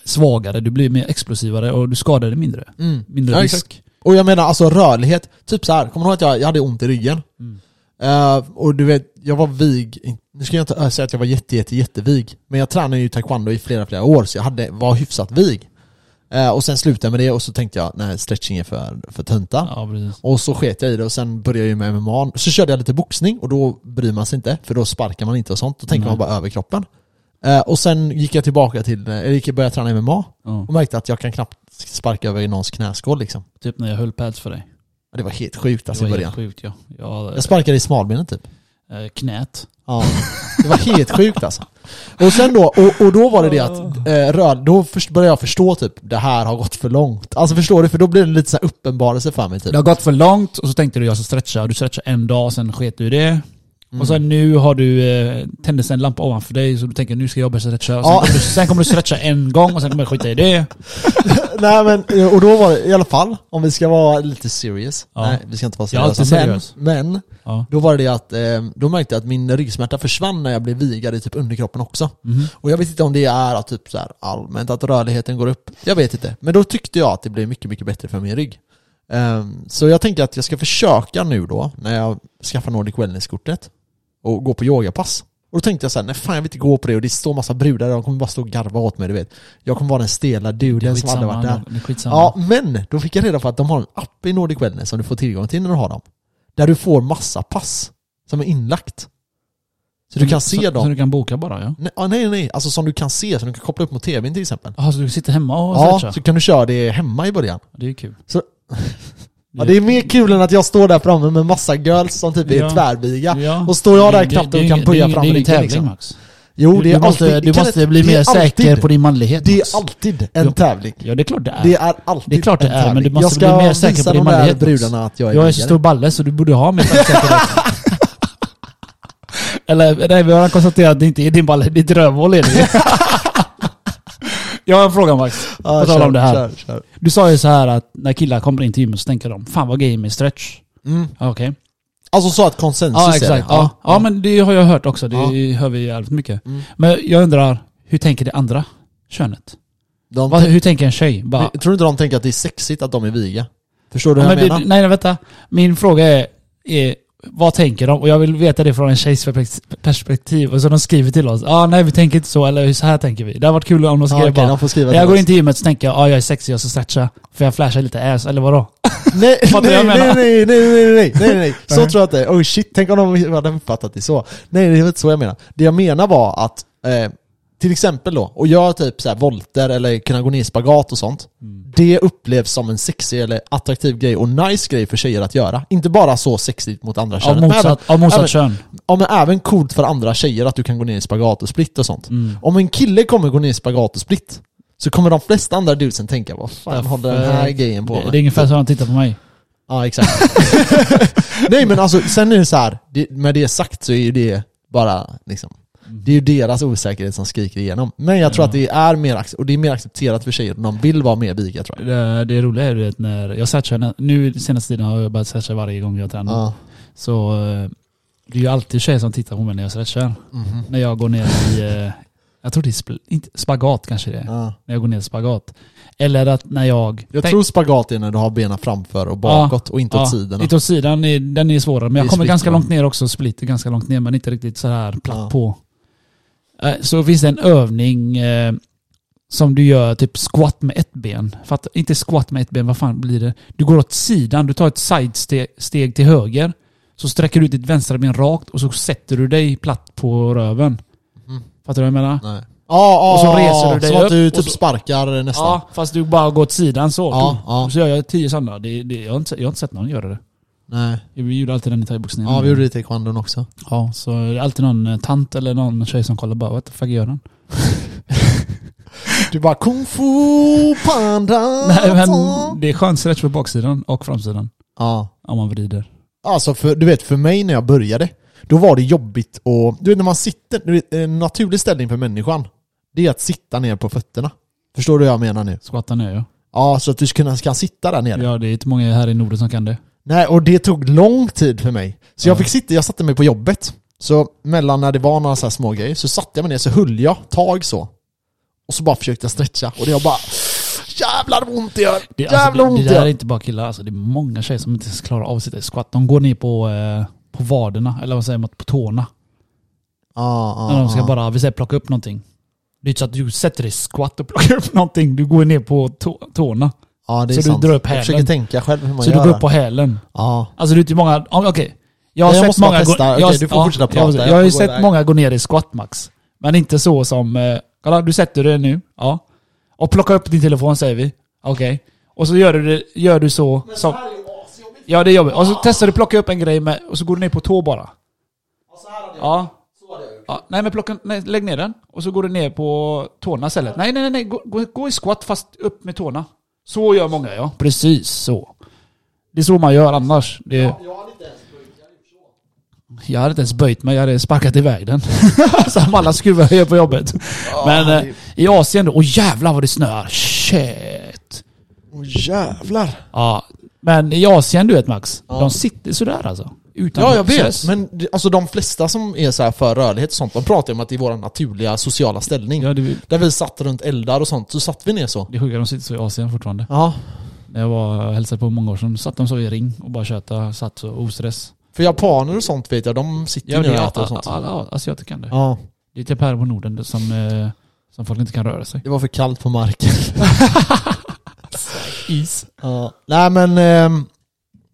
S3: svagare, du blir mer explosivare och du skadar dig mindre.
S2: Mm.
S3: Mindre
S2: Ja, exakt.
S3: risk.
S2: Och jag menar alltså rörlighet, typ så här. kommer du ihåg att jag, jag hade ont i ryggen?
S3: Mm.
S2: Eh, och du vet, jag var vig, nu ska jag inte eh, säga att jag var jätte, jätte, jättevig, men jag tränade ju taekwondo i flera, flera år så jag hade, var hyfsat vig. Eh, och sen slutade jag med det och så tänkte jag, nej stretching är för, för töntar.
S3: Ja, precis.
S2: Och så sket jag i det och sen började jag ju med MMA. Så körde jag lite boxning och då bryr man sig inte för då sparkar man inte och sånt. Då tänker
S3: Nej.
S2: man bara över kroppen. Eh, och sen gick jag tillbaka till, eh, jag gick och började träna MMA
S3: Ja.
S2: och märkte att jag kan knappt sparka över i någons knäskål liksom.
S3: Typ när jag höll pads för dig.
S2: Och Det var helt sjukt
S3: Det
S2: alltså
S3: var
S2: i
S3: helt
S2: början.
S3: sjukt ja. Jag,
S2: Jag sparkade i smalbenet typ.
S3: eh, knät.
S2: Ja. *laughs* Det var helt sjukt alltså. Och sen då, och, och då var det det att eh, röd, då först började jag förstå typ det här har gått för långt. Alltså förstår du? För då blir det lite så här uppenbarelse för mig typ.
S3: Det har gått för långt och så tänkte du jag ska stretcha. Och Du stretchade en dag, sen sket du i det. Och sen nu har du eh, tändes en lampa ovanför dig så du tänker nu ska jag börja stretcha. Och sen,
S2: Ja.
S3: kommer du, sen kommer du stretcha en gång och sen kommer jag skita i det.
S2: Nej men, eh, och då var det i alla fall, om vi ska vara lite serious.
S3: Ja.
S2: Nej, vi ska inte vara
S3: Jag är alltid
S2: seriösa. Men,
S3: seriös.
S2: men,
S3: Ja.
S2: då var det det att, eh, då märkte jag att min ryggsmärta försvann när jag blev vigad i typ underkroppen också.
S3: Mhm.
S2: Och jag vet inte om det är att typ så här allmänt att rörligheten går upp. Jag vet inte. Men då tyckte jag att det blev mycket, mycket bättre för min rygg. Ehm, så jag tänker att jag ska försöka nu då, när jag skaffar Nordic Wellness-kortet, och gå på yogapass. Och då tänkte jag så här, nej fan jag vill inte gå på det och det står massa brudar där, de kommer bara stå och garva åt mig du vet. Jag kommer vara den stela duden som aldrig varit där.
S3: det är skitsamma.
S2: Ja, men då fick jag reda på att de har en app i Nordic Wellness som du får tillgång till när du har dem. Där du får massa pass som är inlagt. Så du kan se
S3: så, Så
S2: dem.
S3: du kan boka bara ja.
S2: Nej, ah, nej, nej, alltså som du kan se, som du kan koppla upp mot tvn till exempel.
S3: Jaha, så du sitter hemma och
S2: Ja,
S3: stretchar?
S2: så kan du köra det hemma i början.
S3: Det är ju kul.
S2: Så- Ja, det är mer kul än att jag står där framme med massa girls som typ är
S3: Ja.
S2: tvärbiga.
S3: Ja.
S2: Och står jag där
S3: Det- det-
S2: knappt
S3: det är
S2: och
S3: ju-
S2: kan
S3: det är
S2: böja
S3: ju-
S2: fram
S3: Det är ju
S2: ryggen
S3: tävling
S2: liksom.
S3: Max.
S2: Jo, det är
S3: du måste,
S2: alltid...
S3: du
S2: kan
S3: måste
S2: inte-
S3: bli
S2: det är
S3: mer säker
S2: alltid-
S3: på din manlighet.
S2: Det
S3: Max.
S2: är alltid en
S3: Jo.
S2: tävling.
S3: Ja, det är klart det är.
S2: Det är alltid
S3: Det är klart det
S2: en
S3: är, men du
S2: tävling.
S3: måste
S2: Jag
S3: bli
S2: ska
S3: mer säker
S2: visa
S3: på
S2: de
S3: din
S2: där
S3: manlighet, Max.
S2: brudarna att jag är
S3: Jag är så
S2: diggare.
S3: stor balle så du borde ha
S2: *laughs*
S3: mer självsäkerhet. Eller nej, vi har redan konstaterat att det inte är din balle, ditt rövhål
S2: *laughs*
S3: är det Jag har en fråga Max,
S2: Ja,
S3: på tal
S2: kör,
S3: om det här.
S2: kör, kör.
S3: Du sa ju så här att när killar kommer in till gymmet så tänker de Fan vad gay med stretch.
S2: Mm.
S3: Ja, Okej.
S2: Alltså så att konsensus
S3: Ja
S2: är
S3: exakt.
S2: det.
S3: Ja. Ja, men det har jag hört också. Det
S2: Ja.
S3: hör vi jävligt mycket.
S2: Mm.
S3: Men jag undrar, hur tänker det andra könet?
S2: De
S3: Vad, hur tänker en tjej? Bara,
S2: Jag tror inte de tänker att det är sexigt att de är viga. Förstår du
S3: Ja,
S2: vad
S3: men
S2: jag
S3: det,
S2: menar?
S3: nej, nej, vänta. Min fråga är, är, vad tänker de? Och jag vill veta det från en tjejs perspekt- perspektiv. Och så de skriver till oss, ah, nej vi tänker inte så, eller så här tänker vi. Det hade varit kul om Ah, de
S2: Ja,
S3: skrev
S2: okej,
S3: bara,
S2: de får skriva
S3: när jag
S2: till
S3: går
S2: oss.
S3: in till gymmet så tänker jag, ah, jag är sexig, jag ska stretcha. För jag flashar lite ass, eller vadå?
S2: Nej, nej,
S3: Fattar
S2: nej,
S3: jag
S2: nej,
S3: menar? Uh-huh.
S2: nej, nej, nej, nej, nej, nej. Så
S3: Nej.
S2: tror jag att det är. Oh shit, tänk om de hade uppfattat det så. Nej, det är inte så jag menar. Det jag menar var att, eh, till exempel då, och göra typ så här volter eller kunna gå ner i spagat och sånt. Det upplevs som en sexig eller attraktiv grej och nice grej för tjejer att göra. Inte bara så sexigt mot andra könet.
S3: Av
S2: men
S3: motsatt, av motsatt
S2: även,
S3: kön.
S2: Ja men även coolt för andra tjejer att du kan gå ner i spagat och split och sånt.
S3: Mm.
S2: Om en kille kommer gå ner i spagat och split, så kommer de flesta andra dudesen tänka vad fan håller den här grejen på
S3: det,
S2: med?
S3: det är ungefär så de tittar på mig.
S2: Ja exakt. *laughs* Nej men alltså, sen är det så här, det, med det sagt så är ju det bara liksom
S3: Mm.
S2: det är ju deras osäkerhet som skriker igenom. Men jag tror att det är mer, ac- och det är mer accepterat för tjejer, de vill vara mer viga tror jag.
S3: Det, det roliga är ju att när jag stretchar, nu senaste tiden har jag börjat stretcha varje gång jag tränar.
S2: Ja.
S3: Så eh, det är ju alltid tjejer som tittar på mig när jag stretchar.
S2: Mhm.
S3: När jag går ner i, eh, jag tror det är spl- inte, spagat kanske det är.
S2: Ja.
S3: När jag går ner i spagat. Eller att när jag...
S2: Jag
S3: Tänk-
S2: tror spagat är när du har benen framför och bakåt och inte åt sidorna.
S3: Inte åt sidan, är, den är svårare. Men
S2: Det är
S3: jag kommer
S2: split,
S3: ganska
S2: va?
S3: långt ner också. Split är ganska långt ner men inte riktigt så här platt
S2: Ja.
S3: på. Eh, Så finns det en övning eh, som du gör typ squat med ett ben. Fatt, inte squat med ett ben, vad fan blir det? Du går åt sidan, du tar ett sidesteg steg till höger. Så sträcker du ut ditt vänstra ben rakt och så sätter du dig platt på röven.
S2: Mhm.
S3: Fattar du vad jag menar?
S2: Nej. Ja, ja,
S3: Och så
S2: ja,
S3: reser
S2: ja.
S3: du dig
S2: Som att
S3: upp
S2: du
S3: och
S2: typ
S3: så-
S2: sparkar nästan.
S3: Ja, fast du bara går åt sidan så.
S2: Ja, ja.
S3: Så gör jag tio sådana. Det, det, jag, har inte, jag har inte sett någon göra det.
S2: Nej.
S3: Vi gjorde alltid den i thaiboxningen.
S2: Ja, vi gjorde det i taekwondon också.
S3: Ja, så det är alltid någon eh, tant eller någon tjej som kollar bara what the fuck gör den?
S2: Du bara kung fu panda.
S3: Nej men det är skön stretch på baksidan och framsidan.
S2: Ja.
S3: Om man vrider.
S2: Alltså, för, du vet för mig när jag började, då var det jobbigt och Du vet när man sitter, du vet, en naturlig ställning för människan, det är att sitta ner på fötterna. Förstår du vad jag menar nu?
S3: Squatta ner ja.
S2: Ja, så att du ska, kan sitta där nere.
S3: Ja det är inte många här i Norden som kan det.
S2: Nej, och det tog lång tid för mig. Så jag fick sitta, jag satte mig på jobbet. Så mellan när det var några så här små grejer så satte jag mig ner, så höll jag tag så. Och så bara försökte jag stretcha och det var bara Jävlar vad ont det gör!
S3: Det,
S2: Jävlar
S3: alltså,
S2: vad
S3: det,
S2: ont
S3: det
S2: det
S3: där är
S2: gör!
S3: inte bara killar alltså. Det är många tjejer som inte ens klarar av sitt squat. De går ner på, eh, på vaderna, eller vad säger man, på tårna.
S2: Ja,
S3: När
S2: ja,
S3: de ska
S2: ja.
S3: bara, vi säger plocka upp någonting. Det är inte så att du sätter dig i squat och plockar upp någonting. Du går ner på tå- tårna.
S2: ja, det är
S3: så du
S2: sant.
S3: drar upp
S2: jag
S3: hälen.
S2: försöker tänka själv hur man
S3: Så
S2: gör.
S3: du går
S2: det.
S3: upp på hälen.
S2: Ja.
S3: Alltså det är inte många, ja, okej. Jag har
S2: Jag
S3: sett
S2: måste bara
S3: många
S2: testa.
S3: jag
S2: Okej,
S3: har-
S2: du får
S3: ja,
S2: fortsätta
S3: jag
S2: prata.
S3: måste-
S2: Jag
S3: Jag, har
S2: får
S3: ju
S2: gå
S3: sett
S2: iväg.
S3: många gå ner i squat max. Men inte så som, eh, kolla du sätter dig nu, ja. Och plocka upp din telefon säger vi. Okej. Och så gör du, det, gör du så. som, ja det är jobbigt. Och så testar du plocka upp en grej med, och så går du ner på tå bara. Ja. Ja, nej men plocka, nej, lägg ner den. Och så går du ner på tårna istället. Nej, nej, nej, nej. Gå, gå, gå i squat fast upp med tårna. Så gör många ja. Precis så. Det är så man gör annars. Det... Jag hade inte ens böjt mig, jag hade sparkat iväg den. *laughs* Som alla skruvar jag gör på jobbet. Men eh, i Asien då, åh jävlar vad det snöar. Shit.
S2: Åh jävlar!
S3: Ja, men i Asien du vet Max, de sitter sådär alltså. Utan
S2: Ja, jag vet.
S3: process.
S2: Men det- alltså, de flesta som är så här för rörlighet och sånt, de pratar ju om att det är vår naturliga sociala ställning.
S3: Ja, det,
S2: Där vi satt runt eldar och sånt, så satt vi ner så.
S3: det är sjuka, de sitter så i Asien fortfarande.
S2: Ja.
S3: När jag var och hälsade på många år sedan satt de så i ring och bara tjötade, satt så oh, ostress.
S2: För japaner och sånt vet jag, de sitter ju
S3: Ja, det
S2: ner och
S3: är
S2: äter och sånt.
S3: alla alla asiater kan det.
S2: Ja.
S3: Det är typ här på Norden som, eh, som folk inte kan röra sig.
S2: Det var för kallt på marken.
S3: Is.
S2: Ja. Nej men ehm,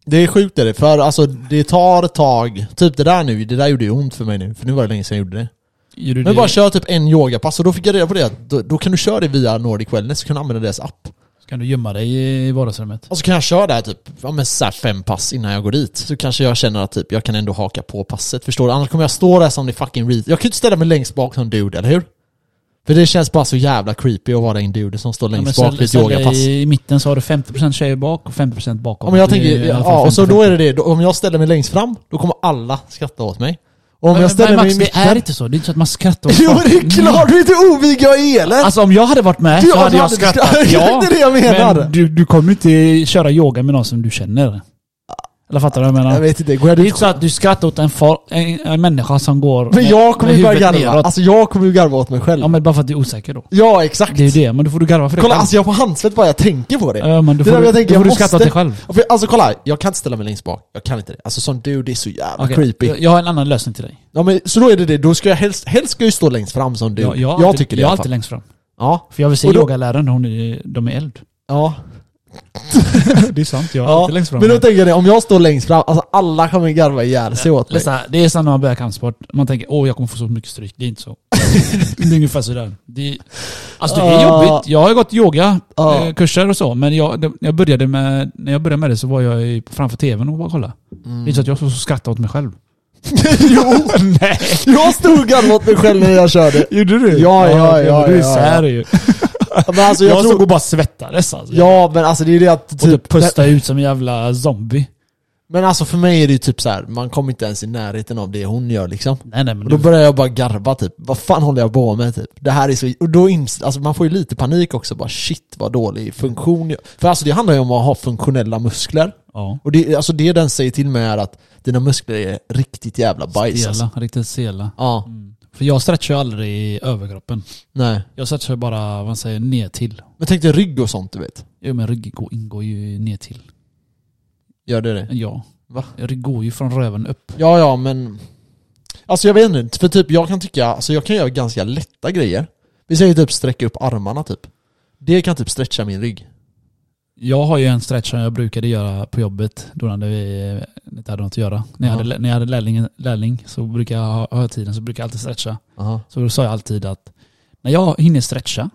S2: det är sjukt är det, för alltså det tar ett tag. Typ det där nu, det där gjorde ju ont för mig nu, för nu var det länge sedan jag gjorde det.
S3: Gör du
S2: Men
S3: det?
S2: bara kör typ en yogapass och då fick jag reda på det att då, då kan du köra det via Nordic Wellness, så kan du använda deras app.
S3: Kan du gömma dig i vardagsrummet?
S2: Och så kan jag köra där typ, ja men så här fem pass innan jag går dit. Så kanske jag känner att typ, jag kan ändå haka på passet, förstår du? Annars kommer jag stå där som det fucking reet. Jag kan ju inte ställa mig längst bak som dude, eller hur? För det känns bara så jävla creepy att vara en dude som står längst
S3: Ja, men
S2: bak vid ett
S3: ställ- ställ dig
S2: yogapass.
S3: I mitten så har du 50% tjejer bak och 50% bakom.
S2: Om jag
S3: Det är
S2: tänker,
S3: i alla fall
S2: ja, och så
S3: 50-50.
S2: då är det det, Då- om jag ställer mig längst fram, då kommer alla skratta åt mig. Och om
S3: Men-
S2: jag ställer mig
S3: men Max,
S2: i
S3: det
S2: mitten...
S3: är inte så. Det är inte så att man skrattar åt
S2: *laughs* Jo
S3: folk.
S2: det är klart, du är inte ovig jag är eller?
S3: Alltså om jag hade varit med
S2: Ja,
S3: så hade
S2: du
S3: jag
S2: hade-
S3: skrattat.
S2: *laughs* Det är det jag menar.
S3: Men du, du kommer inte köra yoga med någon som du känner. Eller fattar du vad jag menar?
S2: jag vet inte, går jag
S3: Det är
S2: dit
S3: inte så att du skrattar åt en, fol- en, en människa som går
S2: Men
S3: med-
S2: jag kommer
S3: med
S2: ju börja
S3: huvudet
S2: garva.
S3: neråt.
S2: Alltså jag kommer ju garva åt mig själv.
S3: Ja men bara för att du är osäker då.
S2: Ja exakt.
S3: Det är ju det, men då får du garva för det
S2: Kolla,
S3: själv.
S2: alltså jag får handsvett bara jag tänker på det.
S3: Ja, men då
S2: det
S3: får
S2: där
S3: du-
S2: jag tänker,
S3: då får
S2: jag
S3: du skratta åt
S2: måste-
S3: dig själv.
S2: Ja, för- Alltså kolla, jag kan inte ställa mig längst bak. Jag kan inte det. Alltså som du, det är så jävla
S3: Okej,
S2: creepy.
S3: jag, jag har en annan lösning till dig.
S2: Ja, men, så då är det det, då ska jag helst, helst ska jag ju stå längst fram som du.
S3: Jag, jag,
S2: jag,
S3: alltid-
S2: tycker det
S3: Jag
S2: i
S3: är
S2: alla
S3: alltid
S2: fall.
S3: längst fram.
S2: Ja.
S3: För jag vill se
S2: Och då-
S3: yogaläraren, hon är, de är
S2: *laughs*
S3: eld.
S2: Ja.
S3: Det är sant, jag är
S2: ja.
S3: alltid längst fram.
S2: Men då tänker jag det, om jag står längst fram, alltså alla kommer garva ihjäl sig åt mig.
S3: Lyssna, det är som när man börjar kampsport. Man tänker åh jag kommer få så mycket stryk. Det
S2: *laughs*
S3: är inte så. det är ungefär sådär. Det, alltså det är
S2: Ja.
S3: jobbigt. Jag har ju gått
S2: Ja.
S3: yogakurser och så, men jag, det- jag började med, när jag började med det så var jag ju framför tvn och bara kollade. Det är inte så att jag så skrattade åt mig själv.
S2: Mm. *laughs* jo,
S3: Nej!
S2: jag stod och garvade åt mig själv när jag körde.
S3: Gjorde du?
S2: Ja, ja, ja,
S3: Du är
S2: ja, ja.
S3: sär ju.
S2: Men alltså jag,
S3: Jag
S2: tror...
S3: såg och bara svettades alltså.
S2: Ja, men alltså det är det att
S3: och typ
S2: typ...
S3: pustade ut som en jävla zombie.
S2: men alltså för mig är det ju typ så här. man kommer inte ens i närheten av det hon gör liksom.
S3: Nej nej men
S2: Och då
S3: du,
S2: börjar jag bara garva typ, vad fan håller jag på med typ? Det här är så, och då ins- alltså man får ju lite panik också bara shit vad dålig funktion jag- För alltså det handlar ju om att ha funktionella muskler
S3: ja.
S2: Och det, alltså det den säger till mig är att dina muskler är riktigt jävla bajs alltså.
S3: Sela, riktigt sela.
S2: Ja,
S3: För jag stretchar ju aldrig i överkroppen.
S2: nej
S3: Jag stretchar bara, vad man säger, ner till.
S2: Men tänk dig rygg och sånt du vet
S3: Jo men rygg går- ingår ju ner till.
S2: Gör det det?
S3: Ja.
S2: Va?
S3: Rygg går ju från röven upp.
S2: Ja ja men Alltså jag vet inte, för typ jag kan tycka, alltså jag kan göra ganska lätta grejer Vi säger typ sträcka upp armarna typ Det kan typ stretcha min rygg
S3: Jag har ju en stretch som jag brukade göra på jobbet då när vi eh, inte hade något att göra. När jag
S2: Ja.
S3: hade, när jag hade lärling, lärling så brukar jag ha, ha tiden så brukar jag alltid stretcha.
S2: Aha.
S3: Så då sa jag alltid att när jag hinner stretcha,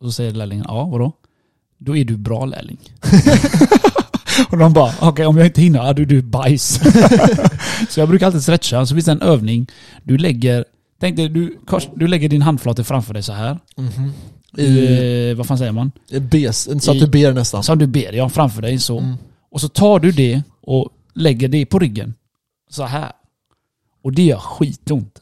S3: och så säger lärlingen ja, vadå? Då är du bra *laughs* lärling. och de bara, okej om jag inte hinner, ja du, du är bajs. *laughs* så jag brukar alltid stretcha, så finns det en övning. Du lägger, tänk dig, du, kors, du lägger din handflata framför dig så här.
S2: Mhm. I,
S3: I, vad fan säger man?
S2: B, så att du ber nästan
S3: Som du ber, ja, framför dig så.
S2: Mm.
S3: Och så tar du det och lägger det på ryggen. Så här. Och det gör skitont.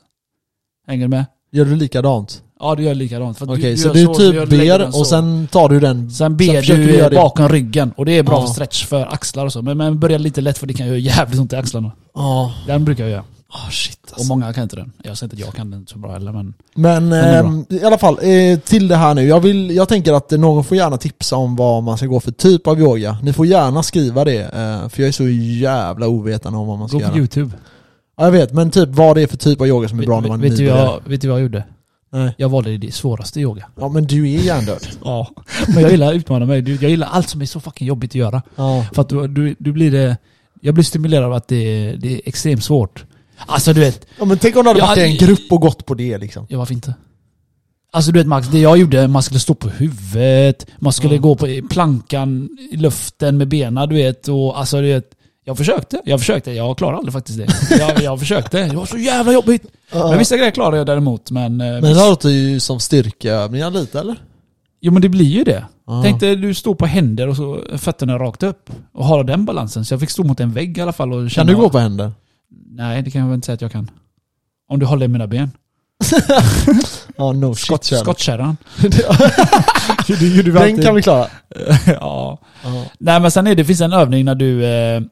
S3: Hänger du med?
S2: Gör du likadant?
S3: Ja, du gör likadant. För att
S2: Okej,
S3: gör
S2: så du
S3: gör-
S2: typ
S3: lägger
S2: ber
S3: den så.
S2: och sen tar du den...
S3: Sen ber
S2: försöker du
S3: du
S2: göra
S3: eh,
S2: det.
S3: bakom ryggen. Och det är bra
S2: Ja.
S3: för stretch för axlar och så. Men, men börja lite lätt för det kan göra jävligt ont i axlarna.
S2: Ja,
S3: Den brukar jag göra.
S2: Ah, shit
S3: Och
S2: alltså.
S3: många kan inte den. Jag säger inte att jag kan den så bra heller men...
S2: Men
S3: är
S2: ehm, i alla fall, eh, till det här nu. Jag, vill, jag tänker att någon får gärna tipsa om vad man ska gå för typ av yoga. Ni får gärna skriva det, eh, för jag är så jävla ovetande om vad man ska
S3: Gå på
S2: göra.
S3: youtube.
S2: Ja, jag vet, men typ vad det är för typ av yoga som är bra när man
S3: Vet,
S2: är
S3: vet, du
S2: nybörjare.
S3: jag, vet du vad jag gjorde?
S2: Nej.
S3: Jag valde det svåraste yoga.
S2: Ja, men du är
S3: *laughs*
S2: hjärndöd.
S3: Ja. Men jag gillar att utmana mig. Du- Jag gillar allt som är så fucking jobbigt att göra.
S2: ja.
S3: För att du, du, du blir det... Jag blir stimulerad av att det, det är extremt svårt. Alltså du vet,
S2: ja, men tänk om du hade
S3: Ja,
S2: varit i en
S3: det-
S2: grupp och gått på det liksom.
S3: Ja, varför inte? Alltså du vet Max, det jag gjorde, man skulle stå på huvudet, man skulle
S2: Mm.
S3: gå på i plankan i luften med benen, du vet. Och, alltså, du vet Jag försökte, jag försökte. Jag klarade aldrig faktiskt det. *laughs* Jag, jag försökte. Det var så jävla jobbigt. Men vissa grejer klarade jag däremot. Men, eh,
S2: Men det här låter ju som styrkeövningar lite eller?
S3: Jo men det blir ju det.
S2: Ja.
S3: Tänk dig du står på händer och så fötterna rakt upp. Och har den balansen. Så jag fick stå mot en vägg i alla fall och
S2: Kan
S3: känna...
S2: du gå på händer?
S3: Nej, det kan jag väl inte säga att jag kan. Om du håller i mina ben.
S2: Ja, no
S3: Skott,
S2: shit *laughs*
S3: skottkärran. *laughs*
S2: Den kan vi klara. *laughs*
S3: ja. Nej men sen är det, finns en övning när du eh,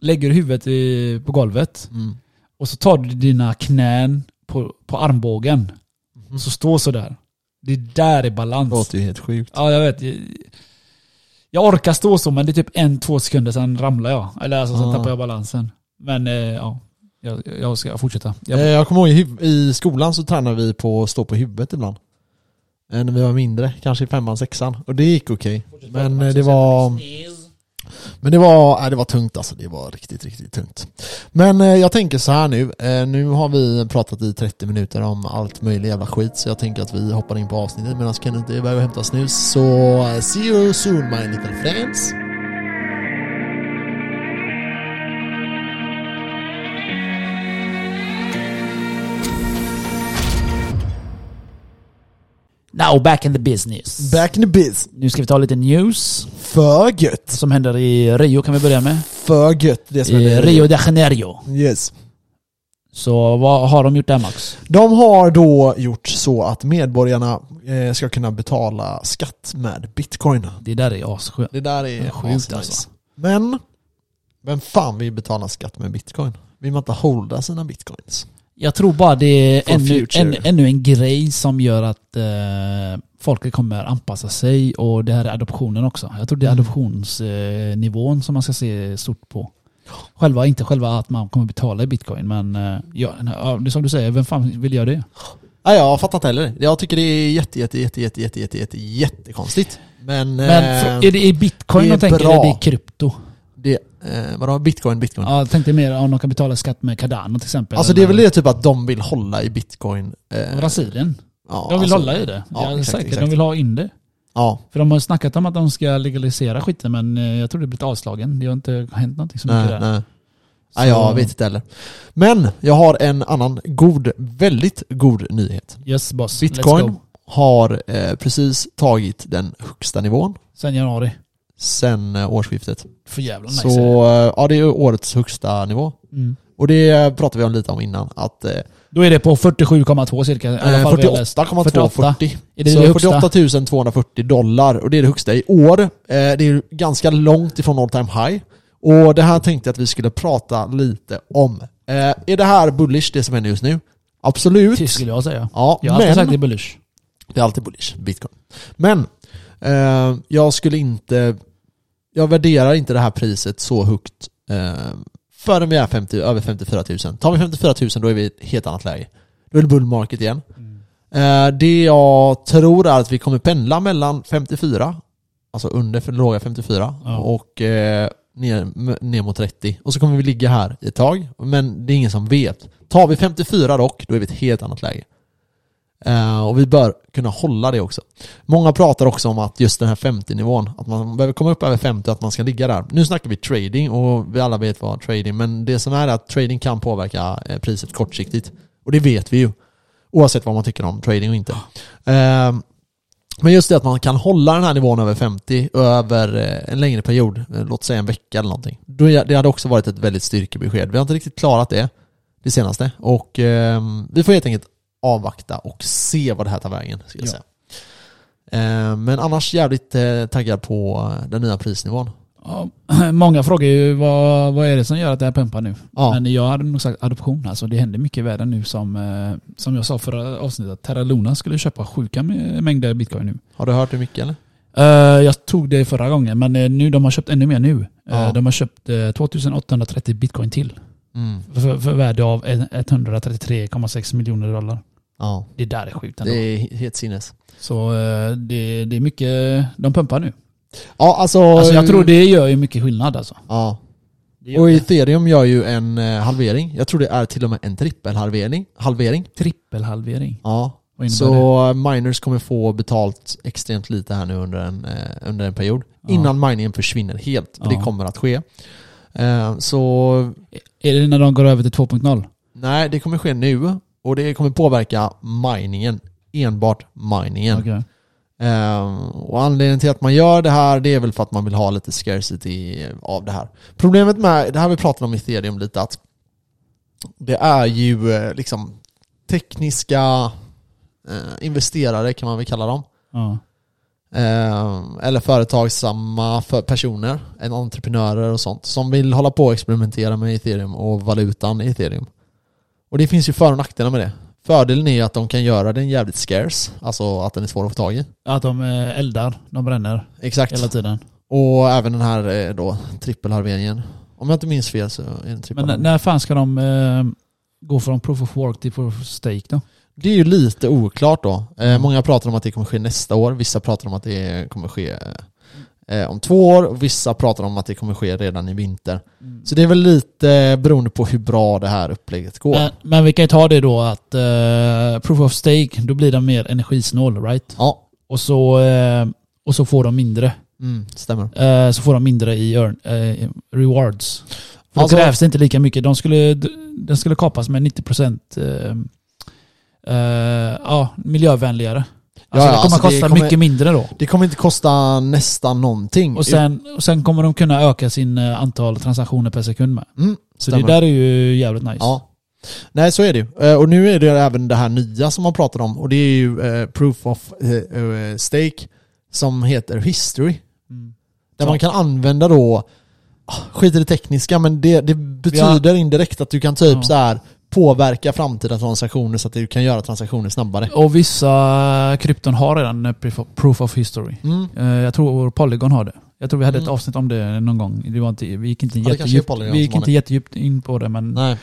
S3: lägger huvudet i, på golvet.
S2: Mm.
S3: Och så tar du dina knän på, på armbågen. Och så står sådär. Det där är balans.
S2: Det låter ju helt sjukt.
S3: Ja, jag vet. Jag- Jag orkar stå så, men det är typ en, två sekunder, sen ramlar jag. Eller alltså, sen
S2: Ja.
S3: tappar jag balansen. Men eh, ja, jag, jag ska fortsätta.
S2: Jag,
S3: Jag,
S2: Eh, jag kommer ihåg i, huv- i skolan så tränade vi på att stå på huvudet ibland. Eh, När vi var mindre, kanske i femman, sexan. Och det gick okej. Men eh, det var... Men det var, nej, det var tungt alltså. Det var riktigt, riktigt tungt. Men eh, jag tänker så här nu. Eh, nu har vi pratat i 30 minuter om allt möjligt jävla skit. Så jag tänker att vi hoppar in på avsnittet medan Kenneth är iväg och hämtar snus. Så eh, see you soon my little friends.
S3: Now back in the business.
S2: Back in the biz.
S3: Nu ska vi ta lite news.
S2: För gött.
S3: Som händer i Rio kan vi börja med.
S2: För gött det som
S3: Eh,
S2: händer i
S3: Rio de Janeiro.
S2: Yes.
S3: Så vad har de gjort där Max?
S2: De har då gjort så att medborgarna eh, ska kunna betala skatt med bitcoin.
S3: Det där är asskönt.
S2: Det där
S3: Det
S2: är
S3: är sjukt,
S2: asnice.
S3: alltså.
S2: Men, vem fan vill betala skatt med bitcoin? Vill man inte hålla sina bitcoins?
S3: Jag tror bara det är
S2: For
S3: ännu,
S2: future.
S3: ännu, ännu en grej som gör att eh, folket kommer anpassa sig och det här är adoptionen också. Jag tror det är
S2: Mm.
S3: adoptionsnivån eh, nivån som man ska se stort på. Själva, inte själva att man kommer betala i bitcoin men eh, ja, ja, det är som du säger, vem fan vill göra det?
S2: Nej, jag fattar inte heller. Jag tycker det är jätte, jätte, jätte, jätte, jätte, jätte, jätte jättekonstigt. Men,
S3: Men
S2: eh,
S3: för, är det i
S2: det
S3: bitcoin
S2: är
S3: de tänker eller
S2: bra.
S3: är det i krypto?
S2: det, eh, vadå, bitcoin, bitcoin?
S3: Ja, jag tänkte mer om de kan betala skatt med Cardano till exempel.
S2: alltså det är väl
S3: eller
S2: det typ att de vill hålla i bitcoin. Eh,
S3: Brasilien.
S2: ja,
S3: De vill
S2: alltså-
S3: hålla i det.
S2: ja,
S3: Ja,
S2: exakt,
S3: säkert.
S2: exakt.
S3: De vill ha in det.
S2: Ja,
S3: För de har snackat om att de ska legalisera skiten men eh, jag tror det blivit avslagen. Det har inte hänt någonting så mycket
S2: nej,
S3: där.
S2: nej.
S3: Så,
S2: Nej, jag vet inte heller. Men jag har en annan god, väldigt god nyhet.
S3: Yes boss, let's
S2: Bitcoin
S3: go.
S2: har eh, precis tagit den högsta nivån
S3: Sen januari.
S2: sen eh, årsskiftet.
S3: För jävla nice. är
S2: Så eh, ja, det är årets högsta nivå.
S3: det. Mm.
S2: Och det pratade vi om lite om innan. Att, eh,
S3: Då är det på 47,2 cirka. I alla
S2: eh,
S3: fall vad jag har läst. 48.
S2: 48,240.
S3: Är det
S2: så
S3: det högsta?
S2: 48 240 dollar och det är det högsta i år. Eh, det är ju ganska långt ifrån all time high. Och det här tänkte jag att vi skulle prata lite om. Eh, är det här bullish, det som händer just nu? Absolut.
S3: Det skulle jag säga.
S2: Ja,
S3: Jag har alltid
S2: men...
S3: sagt det är bullish.
S2: Det är alltid bullish, bitcoin. Men eh, jag skulle inte... Jag värderar inte det här priset så högt eh, förrän vi är 50, över 54 000. Tar vi 54 000 då är vi i ett helt annat läge. Då är det bull market igen. Eh, det jag tror är att vi kommer pendla mellan 54, alltså under för låga 54,
S3: Ja.
S2: och eh, ner, m- ner mot 30. Och så kommer vi ligga här i ett tag, men det är ingen som vet. Tar vi 54 dock, då är vi i ett helt annat läge. Eh, och vi bör kunna hålla det också. Många pratar också om att just den här 50-nivån, att man behöver komma upp över 50 och att man ska ligga där. Nu snackar vi trading och vi alla vet vad trading, men det som är att trading kan påverka eh, priset kortsiktigt. Och det vet vi ju. Oavsett vad man tycker om trading och inte. Eh, men just det att man kan hålla den här nivån över 50 över eh, en längre period, eh, låt säga en vecka eller någonting. Då är- Det hade också varit ett väldigt styrkebesked. Vi har inte riktigt klarat det, det senaste. Och eh, vi får helt enkelt avvakta och se vad det här tar vägen. Ska jag
S3: Ja.
S2: säga. Eh, Men annars jävligt eh, taggad på eh, den nya prisnivån.
S3: Ja, *clears throat* många frågar ju vad, vad är det som gör att det här pumpar nu?
S2: Ja.
S3: Men jag hade nog sagt adoption. Alltså det händer mycket i världen nu som, eh, som jag sa förra avsnittet. att Terra Luna skulle köpa sjuka mä- mängder bitcoin nu.
S2: Har du hört hur mycket eller?
S3: Eh, jag tog det förra gången men eh, nu, de har köpt ännu mer nu. Eh,
S2: Ja.
S3: de har köpt eh, 2830 bitcoin till. För, för värde av en- 133,6 miljoner dollar.
S2: Ja,
S3: Det där är sjukt
S2: det
S3: ändå.
S2: är he- helt sinnes.
S3: Så eh, det, det är mycket de pumpar nu.
S2: Ja, alltså...
S3: Alltså jag tror det gör ju mycket skillnad alltså.
S2: Ja.
S3: Det gör
S2: Och
S3: det.
S2: ethereum gör ju en eh, halvering. Jag tror det är till och med en trippelhalvering. Halvering.
S3: Trippelhalvering.
S2: Ja.
S3: Vad innebär det?
S2: Så eh, miners kommer få betalt extremt lite här nu under en, eh, under en period.
S3: Ja.
S2: Innan miningen försvinner helt. För
S3: Ja.
S2: det kommer att ske. Eh, Så
S3: Är det när de går över till 2.0?
S2: nej, det kommer ske nu och det kommer påverka miningen. Enbart miningen.
S3: Okej.
S2: Ehm, och anledningen till att man gör det här det är väl för att man vill ha lite scarcity av det här. Problemet med, det här vi pratade om i ethereum lite, att det är ju eh, liksom tekniska eh, investerare kan man väl kalla dem.
S3: Ja.
S2: Ehm, eller företagsamma för personer, en entreprenörer och sånt, som vill hålla på och experimentera med ethereum och valutan i ethereum. Och det finns ju för och nackdelar med det. Fördelen är ju att de kan göra den jävligt scarce, alltså att den är svår att få tag i.
S3: Att de eh, eldar, de bränner
S2: Exakt.
S3: hela tiden.
S2: Och även den här eh, då, trippelhalveringen. Om jag inte minns fel så är den
S3: Men när-
S2: trippelhalvering.
S3: när fan ska de eh, gå från proof of work till proof of stake då?
S2: Det är ju lite oklart då. Eh,
S3: Mm.
S2: Många pratar om att det kommer ske nästa år, vissa pratar om att det kommer ske eh, om två år och vissa pratar om att det kommer ske redan i vinter. Så det är väl lite eh, beroende på hur bra det här upplägget går.
S3: Men, men vi kan ju ta det då att eh, proof of stake, då blir den mer energisnål, right?
S2: Ja,
S3: Och så, eh, och så får de mindre.
S2: mm, stämmer.
S3: Eh, så får de mindre i earn, eh, rewards. För
S2: Alltså-
S3: då krävs det inte lika mycket. De skulle, den skulle kapas med 90% eh, eh, ja, miljövänligare. Alltså,
S2: ja,
S3: det kommer
S2: alltså det
S3: kosta
S2: kommer-
S3: mycket mindre då.
S2: Det kommer inte kosta nästan någonting.
S3: Och sen, och sen kommer de kunna öka sin eh, antal transaktioner per sekund med.
S2: Mm,
S3: Så
S2: stämmer.
S3: det där är ju jävligt nice.
S2: Ja. Nej, så är det ju. Eh, Och nu är det även det här nya som man pratar om och det är ju eh, Proof of eh, eh, Stake som heter History.
S3: Mm.
S2: Där
S3: Ja.
S2: man kan använda då, ah, skit i det tekniska, men det, det betyder indirekt att du kan typ
S3: Ja.
S2: så här påverka framtida transaktioner så att du kan göra transaktioner snabbare.
S3: Och vissa krypton har redan eh, proof of- proof of history.
S2: Mm.
S3: Eh, Jag tror Polygon har det. Jag tror vi hade ett
S2: Mm.
S3: avsnitt om det någon gång. Det var inte, vi gick inte,
S2: det kanske är
S3: jättedjupt,
S2: Polygon
S3: vi gick
S2: som har
S3: inte
S2: det.
S3: jättedjupt in på det men
S2: Nej.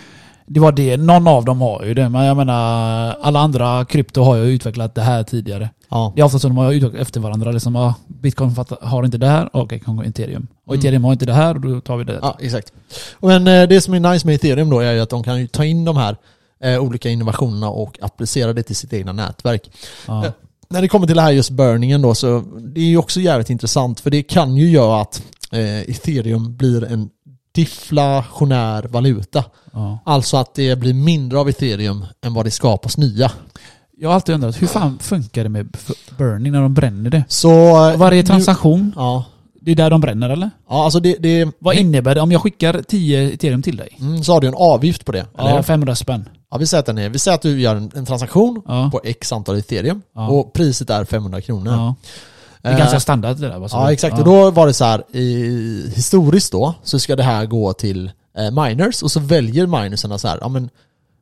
S3: det var det. Någon av dem har ju det. Men jag menar alla andra krypto har ju utvecklat det här tidigare.
S2: Ja.
S3: Det är ofta så de har utvecklat efter varandra. Liksom, ah, Bitcoin fattar- har inte det här, ah, okej kan gå ethereum. Och
S2: Mm.
S3: ethereum har inte det här, då tar vi det.
S2: ja, exakt. Och men eh, det som är nice med ethereum då är ju att de kan ju ta in de här eh, olika innovationerna och applicera det till sitt egna nätverk.
S3: Ja.
S2: Eh, när det kommer till det här just burningen då så det är ju också jävligt intressant för det kan ju göra att eh, ethereum blir en deflationär valuta.
S3: Ja.
S2: Alltså att det blir mindre av ethereum än vad det skapas nya.
S3: Jag har alltid undrat, hur fan funkar det med f- burning när de bränner det?
S2: Så... eh,
S3: Varje
S2: nu-
S3: transaktion,
S2: Ja.
S3: det är där de bränner eller?
S2: Ja, alltså det... det
S3: Vad innebär det om jag skickar 10 ethereum till dig?
S2: mm, så har du en avgift på det, eller
S3: Ja,
S2: hur?
S3: 500 spänn.
S2: Ja, vi säger att den är... Vi säger att du gör en, en transaktion
S3: Ja.
S2: på x antal ethereum
S3: Ja.
S2: och priset är 500 kronor.
S3: Ja. Det är
S2: Eh,
S3: ganska standard det där. vad som-
S2: Ja exakt, och då var det så här i, historiskt då så ska det här gå till eh, miners och så väljer minerserna så här, ja men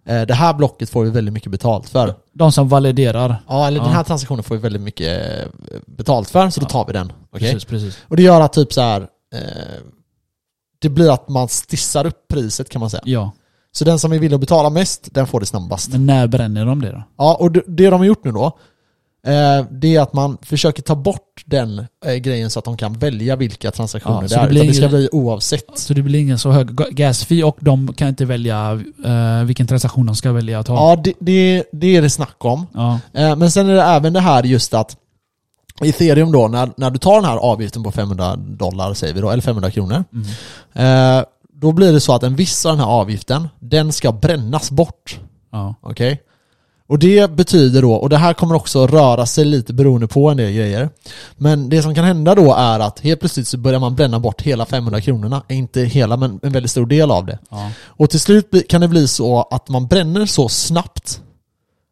S2: eh, det här blocket får vi väldigt mycket betalt för.
S3: De som validerar.
S2: Ja eller den
S3: Ja.
S2: här transaktionen får vi väldigt mycket eh, betalt för så då
S3: Ja.
S2: tar vi den. Okej?
S3: Precis, precis.
S2: Och det gör att typ så här eh, det blir att man stissar upp priset kan man säga.
S3: Ja.
S2: Så den som är villig att betala mest, den får det snabbast.
S3: Men när bränner de det då?
S2: Ja, och det- det de har gjort nu då, eh, det är att man försöker ta bort den eh, grejen så att de kan välja vilka transaktioner
S3: Ja,
S2: det
S3: så
S2: är.
S3: det blir
S2: utan det ska
S3: ingen-
S2: bli oavsett.
S3: Så det blir ingen så hög ga- gas fee och de kan inte välja eh, vilken transaktion de ska välja att ha.
S2: Ja, det, det, det är det snack om.
S3: Ja.
S2: Eh, men sen är det även det här just att i ethereum då, när, när du tar den här avgiften på 500 dollar säger vi då, eller 500 kronor.
S3: Mm.
S2: Eh, då blir det så att en viss av den här avgiften, den ska brännas bort.
S3: Ja.
S2: Okej? Och det betyder då, och det här kommer också röra sig lite beroende på en del grejer. Men det som kan hända då är att helt plötsligt så börjar man bränna bort hela 500 kronorna. Eh, Inte hela, men en väldigt stor del av det.
S3: Ja.
S2: Och till slut bli- kan det bli så att man bränner så snabbt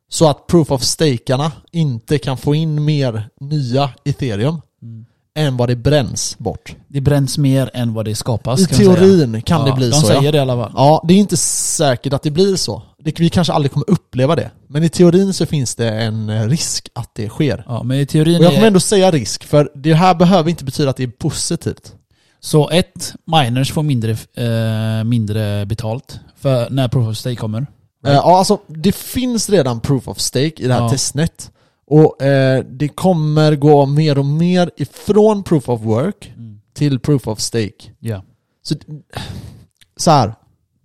S2: så att proof of stakarna inte kan få in mer nya ethereum
S3: Mm.
S2: än vad det bränns bort.
S3: Det bränns mer än vad det skapas.
S2: I
S3: kan man säga.
S2: teorin kan
S3: ja,
S2: det bli
S3: de
S2: så
S3: säger
S2: ja.
S3: det i alla fall.
S2: Ja, det är inte säkert att det blir så. Det, vi kanske aldrig kommer uppleva det. Men i teorin så finns det en eh, risk att det sker.
S3: Ja, men i teorin
S2: Och jag
S3: är,
S2: kommer ändå säga risk, för det här behöver inte betyda att det är positivt.
S3: Så ett, miners får mindre, eh, mindre betalt för när proof of stake kommer.
S2: Eh, Ja, alltså det finns redan proof of stake i det här
S3: Ja.
S2: testnet. Och eh, det kommer gå mer och mer ifrån proof of work
S3: Mm.
S2: till proof of stake.
S3: Ja.
S2: Så, så här,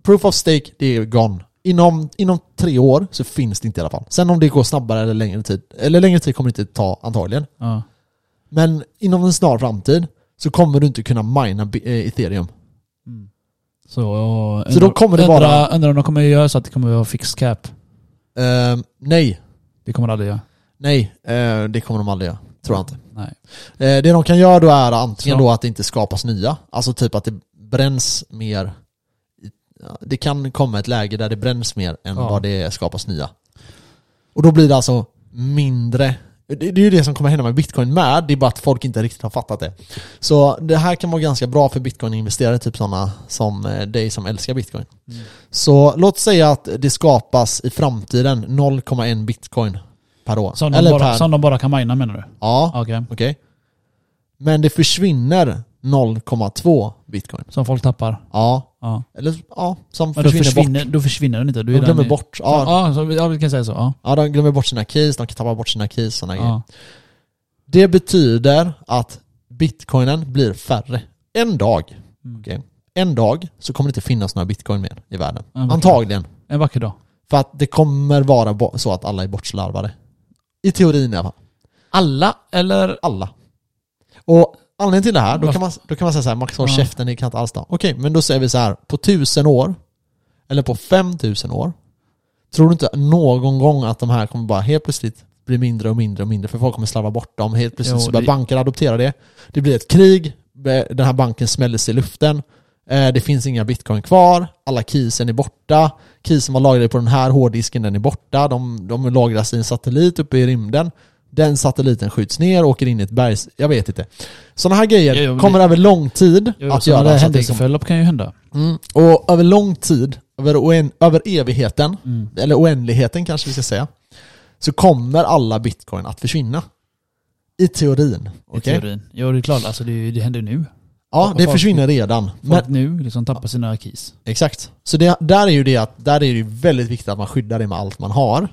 S2: proof of stake, det är gone. Inom, inom tre år så finns det inte i alla fall. Sen om det går snabbare eller längre tid, eller längre tid kommer det inte ta antagligen.
S3: Ja.
S2: Men inom en snar framtid så kommer du inte kunna mina bi- eh, ethereum.
S3: Mm. Så, jag
S2: Så då kommer det
S3: undrar,
S2: vara-
S3: Undrar om de kommer göra så att det kommer vara fixed cap.
S2: Eh, nej,
S3: Det kommer de aldrig göra.
S2: nej, eh, det kommer de aldrig göra. Tror jag inte.
S3: Nej.
S2: Eh, det de kan göra då är antingen
S3: Så.
S2: då att det inte skapas nya, alltså typ att det bränns mer. i- ja, Det kan komma ett läge där det bränns mer än
S3: Ja.
S2: vad det skapas nya. Och då blir det alltså mindre det, det är ju det som kommer hända med bitcoin med, det är bara att folk inte riktigt har fattat det. Så det här kan vara ganska bra för bitcoin-investerare, typ sådana som eh, dig som älskar bitcoin.
S3: Mm.
S2: Så låt säga att det skapas i framtiden 0,1 bitcoin per år.
S3: Som, de
S2: Eller
S3: bara,
S2: per...
S3: som de bara kan mina menar du?
S2: Ja,
S3: Okej.
S2: Okej. Men det försvinner 0,2 bitcoin.
S3: Som folk tappar?
S2: Ja,
S3: Ja.
S2: eller ja, som
S3: Men
S2: försvinner,
S3: då försvinner,
S2: bort.
S3: Då försvinner den inte. Då
S2: De
S3: är den
S2: glömmer
S3: i-
S2: bort. Ja,
S3: Ja, så, ja, vi kan säga så. Ja.
S2: ja, de glömmer bort sina keys, de kan tappa bort sina keys, såna grejer.
S3: Ja.
S2: Det betyder att bitcoinen blir färre. En dag,
S3: Mm.
S2: okej. en dag så kommer det inte finnas några bitcoin mer i världen.
S3: Ja, verkligen.
S2: Antagligen.
S3: En vacker dag.
S2: För att det kommer vara bo- så att alla är bortslarvade. I teorin i alla fall.
S3: Alla eller?
S2: alla. Och anledningen till det här, då
S3: Varför?
S2: kan man, då kan man säga så här, Max håll
S3: Ja.
S2: käften, ni kan inte alls ta. Okej, men då säger vi så här, på tusen år, eller på 5000 år, tror du inte någon gång att de här kommer bara helt plötsligt bli mindre och mindre och mindre, för folk kommer slarva bort dem. Helt plötsligt
S3: Jo,
S2: så börjar
S3: det-
S2: banker adoptera det. Det blir ett krig, eh, den här banken smälls i luften, eh, det finns inga bitcoin kvar, alla keysen är borta, keysen var lagrade på den här hårddisken, den är borta, de, de lagras i en satellit uppe i rymden. Den satelliten skjuts ner, åker in i ett berg. Jag vet inte. Sådana här grejer
S3: Ja, ja, men
S2: kommer över lång tid att göra.
S3: Sådana
S2: så att det liksom-
S3: händelseförlopp kan ju hända.
S2: Mm. Och över lång tid, över, oen, över evigheten,
S3: Mm.
S2: eller oändligheten kanske vi ska säga, så kommer alla bitcoin att försvinna. I teorin.
S3: I
S2: okej?
S3: teorin. Jo, det är klart. Alltså, det, det händer nu.
S2: Ja, det
S3: Folk-
S2: försvinner redan. Men,
S3: Folk nu liksom tappar sina keys.
S2: exakt. Så det, där är ju det att, där är det ju väldigt viktigt att man skyddar det med allt man har.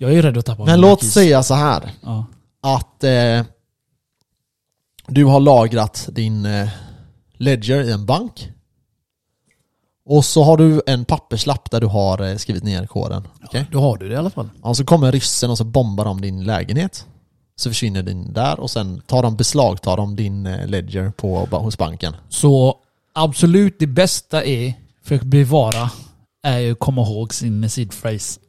S3: Jag är ju rädd att tappa
S2: Men
S3: mina
S2: låt
S3: keys.
S2: säga så här,
S3: Ja.
S2: att eh, du har lagrat din eh, ledger i en bank. Och så har du en papperslapp där du har eh, skrivit ner koden. okej?
S3: Då har du det i alla fall.
S2: Ja, så kommer ryssen och så bombar de din lägenhet. Så försvinner din där och sen tar de beslagtar de din eh, ledger på, ba- hos
S3: *laughs*
S2: banken.
S3: Så absolut det bästa är, för att bevara, är ju att komma ihåg sin seed phrase.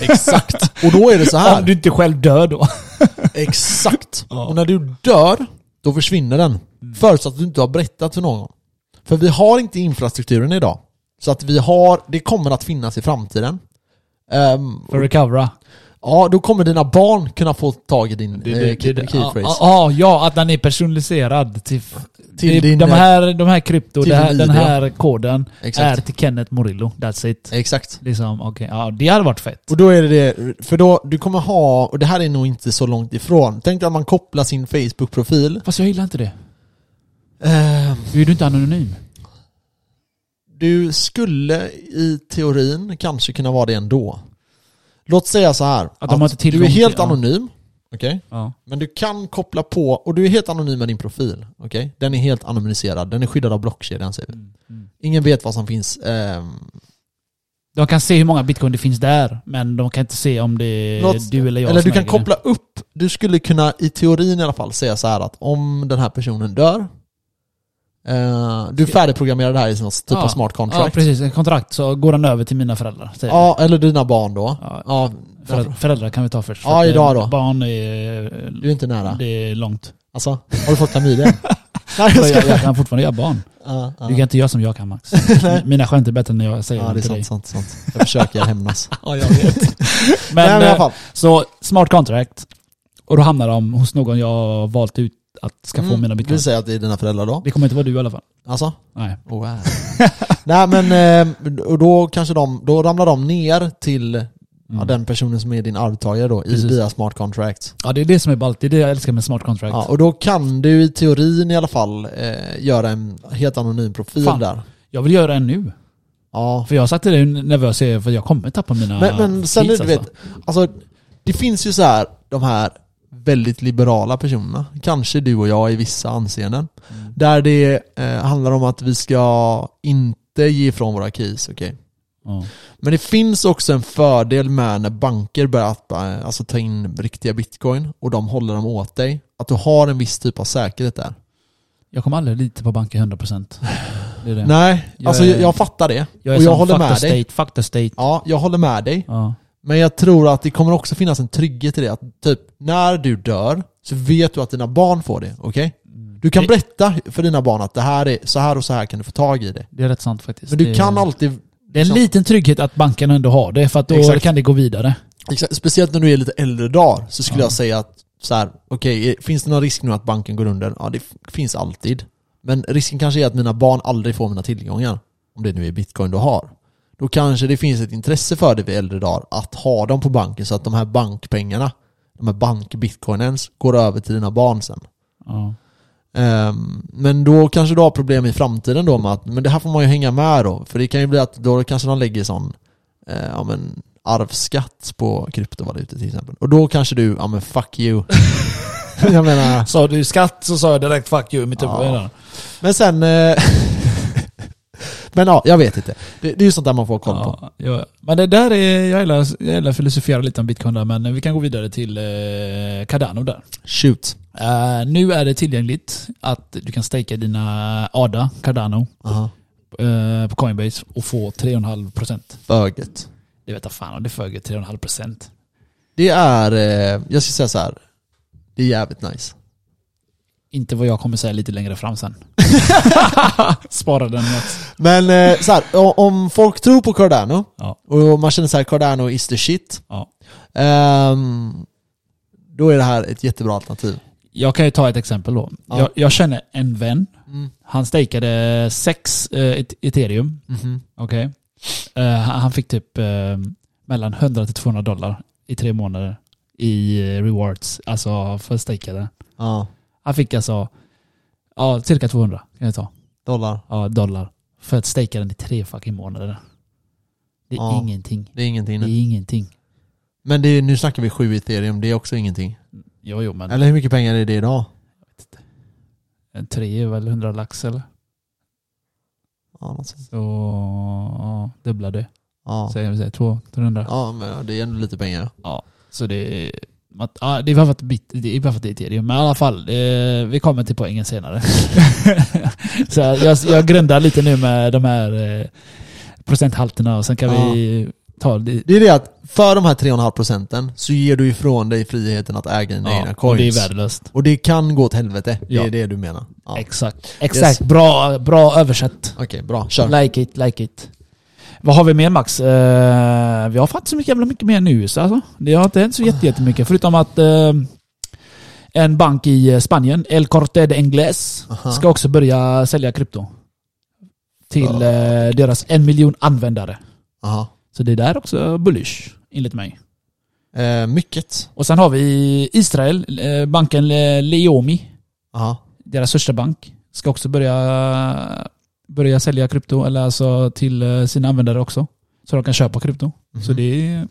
S2: Exakt. och då är det så
S3: Om
S2: här.
S3: du inte själv dör då. *laughs*
S2: Exakt. Och när du dör, då försvinner den.
S3: Mm.
S2: Förutsatt att du inte har berättat för någon. För vi har inte infrastrukturen idag. Så att vi har, det kommer att finnas i framtiden. Ehm,
S3: För att recovera.
S2: ja, då kommer dina barn kunna få tag i din
S3: Det- det-
S2: eh, key,
S3: det-
S2: key
S3: ja,
S2: phrase.
S3: ja, ja, att den är personaliserad till, till
S2: din,
S3: de,
S2: eh,
S3: här, de här krypto,
S2: till
S3: det här,
S2: din
S3: den
S2: ID, ja.
S3: här koden
S2: Exakt.
S3: är till Kenneth Morillo. That's it.
S2: Exakt.
S3: Liksom, okay. ja, det hade varit fett.
S2: Och då är det det, för då, du kommer ha, och det här är nog inte så långt ifrån, tänk dig att man kopplar sin Facebook-profil.
S3: Fast jag gillar inte det.
S2: Ehm,
S3: Du är du inte anonym.
S2: Du skulle i teorin kanske kunna vara det ändå. Låt säga så här,
S3: de har inte tillgång
S2: du är helt
S3: till- ja.
S2: anonym, okej?
S3: Ja.
S2: Men du kan koppla på, och du är helt anonym med din profil, okej? Den är helt anonymiserad, den är skyddad av blockkedjan säger vi.
S3: Mm,
S2: Ingen vet vad som finns, ehm,
S3: De kan se hur många bitcoin det finns där, men de kan inte se om det är
S2: Låt-
S3: du eller jag
S2: Eller
S3: som
S2: du kan
S3: äger
S2: koppla upp, du skulle kunna i teorin i alla fall säga så här att om den här personen dör, eh, du färdigprogrammerar det här i någon typ av
S3: Ja.
S2: smart
S3: det. Ja,
S2: contract. Ja,
S3: precis. Ett kontrakt, så går den över till mina föräldrar. säger jag.
S2: eller dina barn då.
S3: Ja.
S2: Ja,
S3: Föräldrar, föräldrar kan vi ta först. för
S2: Ja,
S3: att, eh,
S2: idag då.
S3: Barn är...
S2: du är inte nära.
S3: Det
S2: *laughs*
S3: är långt.
S2: Alltså, har du fått
S3: *laughs*
S2: klamydia? Nej jag
S3: Jag, jag,
S2: skojar.
S3: kan fortfarande göra barn.
S2: Ja, ja.
S3: Du kan inte göra som jag
S2: *laughs*
S3: kan Max. Mina skämt är bättre när jag säger
S2: Ja,
S3: dem
S2: det är
S3: till dig.
S2: sant, sant, sant. Jag försöker hämnas.
S3: *laughs*
S2: *laughs*
S3: Ja, jag vet. men,
S2: Nej, men i alla
S3: eh,
S2: fall.
S3: Så smart contract. Och då hamnar de hos någon jag har valt ut att ska få
S2: Mm,
S3: mina bitcoin.
S2: Vi säger att det är dina föräldrar då.
S3: Det kommer inte vara du i alla fall.
S2: Alltså?
S3: Nej.
S2: Wow. *laughs* Nej men, eh, och då kanske de, då ramlar de ner till ja,
S3: Mm.
S2: den personen som är din arvtagare då, i
S3: Precis.
S2: via smart contract.
S3: Ja, det är det som är ballt. Det är det jag älskar med smart contract.
S2: Ja, och då kan du i teorin i alla fall eh, göra en helt anonym profil
S3: Fan.
S2: där.
S3: Jag vill göra en nu.
S2: Ja.
S3: För jag satt där hur nervös jag är för jag kommer tappa mina
S2: Men, men sen är
S3: keys,
S2: det, du vet,
S3: alltså.
S2: alltså, det finns ju så här, de här väldigt liberala personerna, kanske du och jag i vissa anseenden,
S3: Mm.
S2: där det eh, handlar om att vi ska inte ge ifrån våra keys, okej?
S3: Ja.
S2: Men det finns också en fördel med när banker börjar att, eh, alltså, ta in riktiga bitcoin och de håller dem åt dig. Att du har en viss typ av säkerhet där.
S3: Jag kommer aldrig lita på banken 100%. Det är det.
S2: Nej,
S3: Jag
S2: alltså
S3: är-
S2: jag, jag fattar det.
S3: jag är
S2: och jag
S3: som
S2: håller
S3: fuck the
S2: med
S3: state,
S2: dig.
S3: Fuck the state.
S2: Ja, jag håller med dig.
S3: Ja.
S2: Men jag tror att det kommer också finnas en trygghet i det. Att typ, när du dör så vet du att dina barn får det. Okej? Du kan
S3: Det-
S2: berätta för dina barn att det här är så här och så här kan du få tag i det.
S3: Det är rätt sant faktiskt.
S2: Men du
S3: Det-
S2: kan alltid... liksom-
S3: Det är en liten trygghet att banken ändå har det, för att då
S2: Exakt.
S3: kan det gå vidare.
S2: Exakt, Liksom, Speciellt när du är lite äldre dagar så skulle
S3: Ja.
S2: jag säga att så här, okej, finns det någon risk nu att banken går under? Ja, det f- finns alltid. Men risken kanske är att mina barn aldrig får mina tillgångar. Om det nu är bitcoin du har. Då kanske det finns ett intresse för dig vid äldre dagar att ha dem på banken så att de här bankpengarna, de här bankbitcoinens, går över till dina barn sen.
S3: Ja.
S2: Ehm, men då kanske du har problem i framtiden då med att, men det här får man ju hänga med då. För det kan ju bli att då kanske de lägger sån, eh, ja men arvsskatt på kryptovalutor till exempel. Och då kanske du, ja men fuck *laughs* you. jag menar,
S3: Sa du skatt så sa jag direkt fuck you i mitt
S2: Ja.
S3: huvud. redan.
S2: men sen... eh, men ja, jag vet inte. Det, det är ju sånt där man får koll på.
S3: Ja, ja. Men det där är, jag gillar, jag gillar att filosofera lite om bitcoin där, men vi kan gå vidare till eh, Cardano där.
S2: Shoot.
S3: Eh, nu är det tillgängligt att du kan stejka dina ADA, Cardano,
S2: Aha.
S3: eh, på Coinbase och få 3,5%.
S2: Böget.
S3: Det vet jag fan om det föger 3,5%.
S2: Det är, eh, jag ska säga så här. det är jävligt nice.
S3: Inte vad jag kommer säga lite längre
S2: *laughs*
S3: fram sen. Spara den. Mats.
S2: Men eh, så här, o- om folk tror på Cardano
S3: Ja.
S2: och man känner så här, Cardano is the shit.
S3: Ja.
S2: Ehm, då är det här ett jättebra alternativ.
S3: Jag kan ju ta ett exempel då.
S2: Ja.
S3: Jag, jag känner en vän.
S2: Mm.
S3: Han stakeade sex eh, et- ethereum.
S2: Mhm.
S3: Okej. Eh, han han fick typ eh, mellan 100 till 200 dollar i tre månader i eh, rewards. Alltså för att staka den.
S2: Ja,
S3: Han fick alltså ja, cirka 200 kan jag ta,
S2: dollar.
S3: ja, dollar för att staka den i tre fucking månader. Det är
S2: Ja.
S3: ingenting.
S2: Det är ingenting.
S3: Det är ingenting.
S2: Men det är, nu snackar vi sju ethereum, det är också ingenting.
S3: Jo, jo, men
S2: Eller hur mycket pengar är det idag?
S3: en tre är väl 100 lax eller?
S2: Ja, något sånt.
S3: Så ja, dubbla det.
S2: ja.
S3: Säger vi säger två, 300.
S2: ja men det är ändå lite pengar.
S3: Så det är... Att, ja, det är bara för att bit- det är bara för att det är Ethereum. Men i alla fall, eh, vi kommer till poängen senare. *laughs* så jag, jag grundar lite nu med de här eh, procenthalterna och sen kan
S2: Ja.
S3: vi ta det.
S2: Det är det att för de här 3,5 procenten så ger du ifrån dig friheten att äga dina
S3: Ja,
S2: egna
S3: och
S2: coins.
S3: det är värdelöst.
S2: Och det kan gå åt helvete, det
S3: Ja.
S2: är det du menar. Ja.
S3: Exakt. Exakt. Bra, bra översatt.
S2: Okej, bra. Kör.
S3: Like it, like it. Vad har vi mer Max? Eh, vi har faktiskt så mycket jävla mycket mer nu. Så alltså. Det har inte hänt så jätte- jättemycket. Förutom att eh, en bank i eh, Spanien, El Corte de Ingles,
S2: Aha.
S3: ska också börja sälja krypto. Till
S2: Ja.
S3: eh, deras en miljon användare.
S2: Aha.
S3: Så det där är också bullish, enligt mig.
S2: Eh, mycket.
S3: Och sen har vi i Israel, eh, banken eh, Leomi,
S2: Aha.
S3: deras största bank, ska också börja, börja sälja krypto, eller alltså till eh, sina användare också. Så de kan köpa krypto. Så det är...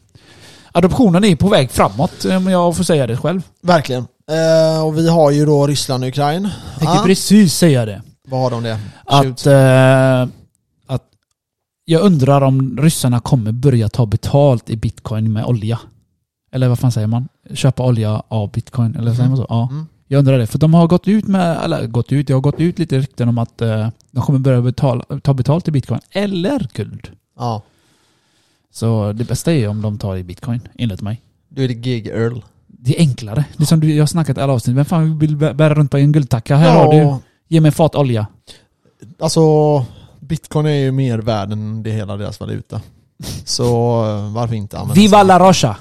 S3: Adoptionen är på väg framåt, eh, om jag får säga det själv.
S2: Verkligen. Eh, och vi har ju då Ryssland och Ukraina.
S3: Jag tänkte
S2: Ah.
S3: precis säga det.
S2: Vad har de det? Shoot.
S3: Att, eh, att jag undrar om ryssarna kommer börja ta betalt i bitcoin med olja. Eller vad fan säger man? Köpa olja av bitcoin, eller säger man så? Ja.
S2: Mm.
S3: Jag undrar det, för de har gått ut med, eller gått ut, jag har gått ut lite rykten om att eh, de kommer börja betala, ta betalt i bitcoin eller guld.
S2: Ja.
S3: Så det bästa är ju om de tar i bitcoin, enligt mig.
S2: Du är det gig Earl.
S3: Det är enklare. Det är som du, jag har snackat i alla avsnitt, vem fan vill bä- bära runt på en guldtacka? Här har du, ge mig en fat olja.
S2: Alltså, bitcoin är ju mer värd än det hela deras valuta. Så eh, varför inte använda
S3: Viva
S2: sig?
S3: la Rocha!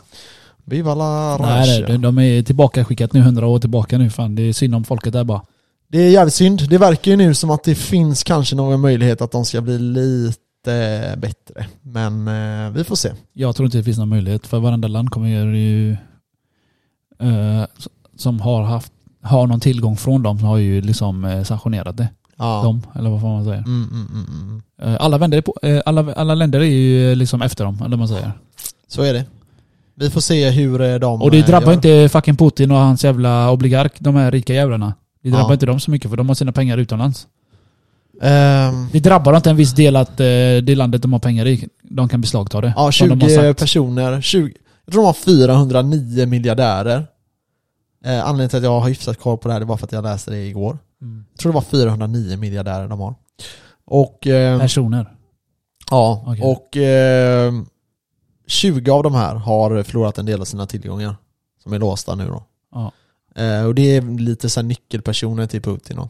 S2: Viva la
S3: Nej,
S2: Russia.
S3: de, de är tillbaka skickat nu, hundra år tillbaka nu. Fan, det är synd om folket där bara.
S2: Det är jävligt synd. Det verkar ju nu som att det finns kanske någon möjlighet att de ska bli lite bättre. Men eh, vi får se.
S3: Jag tror inte det finns någon möjlighet, för varenda land kommer göra ju... Eh, s- som har haft har någon tillgång från dem som har ju liksom eh, sanktionerat det.
S2: Ja.
S3: Dem, eller vad får man säga.
S2: Mm, mm, mm, mm.
S3: Eh, alla, vänder är på, eh, alla, alla länder är ju eh, liksom efter dem, eller vad man säger.
S2: Så är det. Vi får se hur eh, de
S3: Och det
S2: eh,
S3: drabbar
S2: gör.
S3: inte fucking Putin och hans jävla oligark, de här rika jävlarna. Det drabbar
S2: Ja.
S3: inte dem så mycket för de har sina pengar utomlands.
S2: Ehm,
S3: Det drabbar inte en viss del att eh, det landet de har pengar i, de kan beslagta det.
S2: Ja,
S3: Som de har
S2: 20
S3: sagt.
S2: personer. 20, jag tror de har 409 miljardärer. Eh, anledningen till att jag har hyfsat koll på det här det var för att jag läste det igår.
S3: Mm.
S2: Jag tror det var 409 miljardärer de har. Och, eh,
S3: Personer.
S2: ja,
S3: Okej.
S2: och eh, 20 av de här har förlorat en del av sina tillgångar som är låsta nu då.
S3: Ja.
S2: Eh, och det är lite så här nyckelpersoner till Putin då.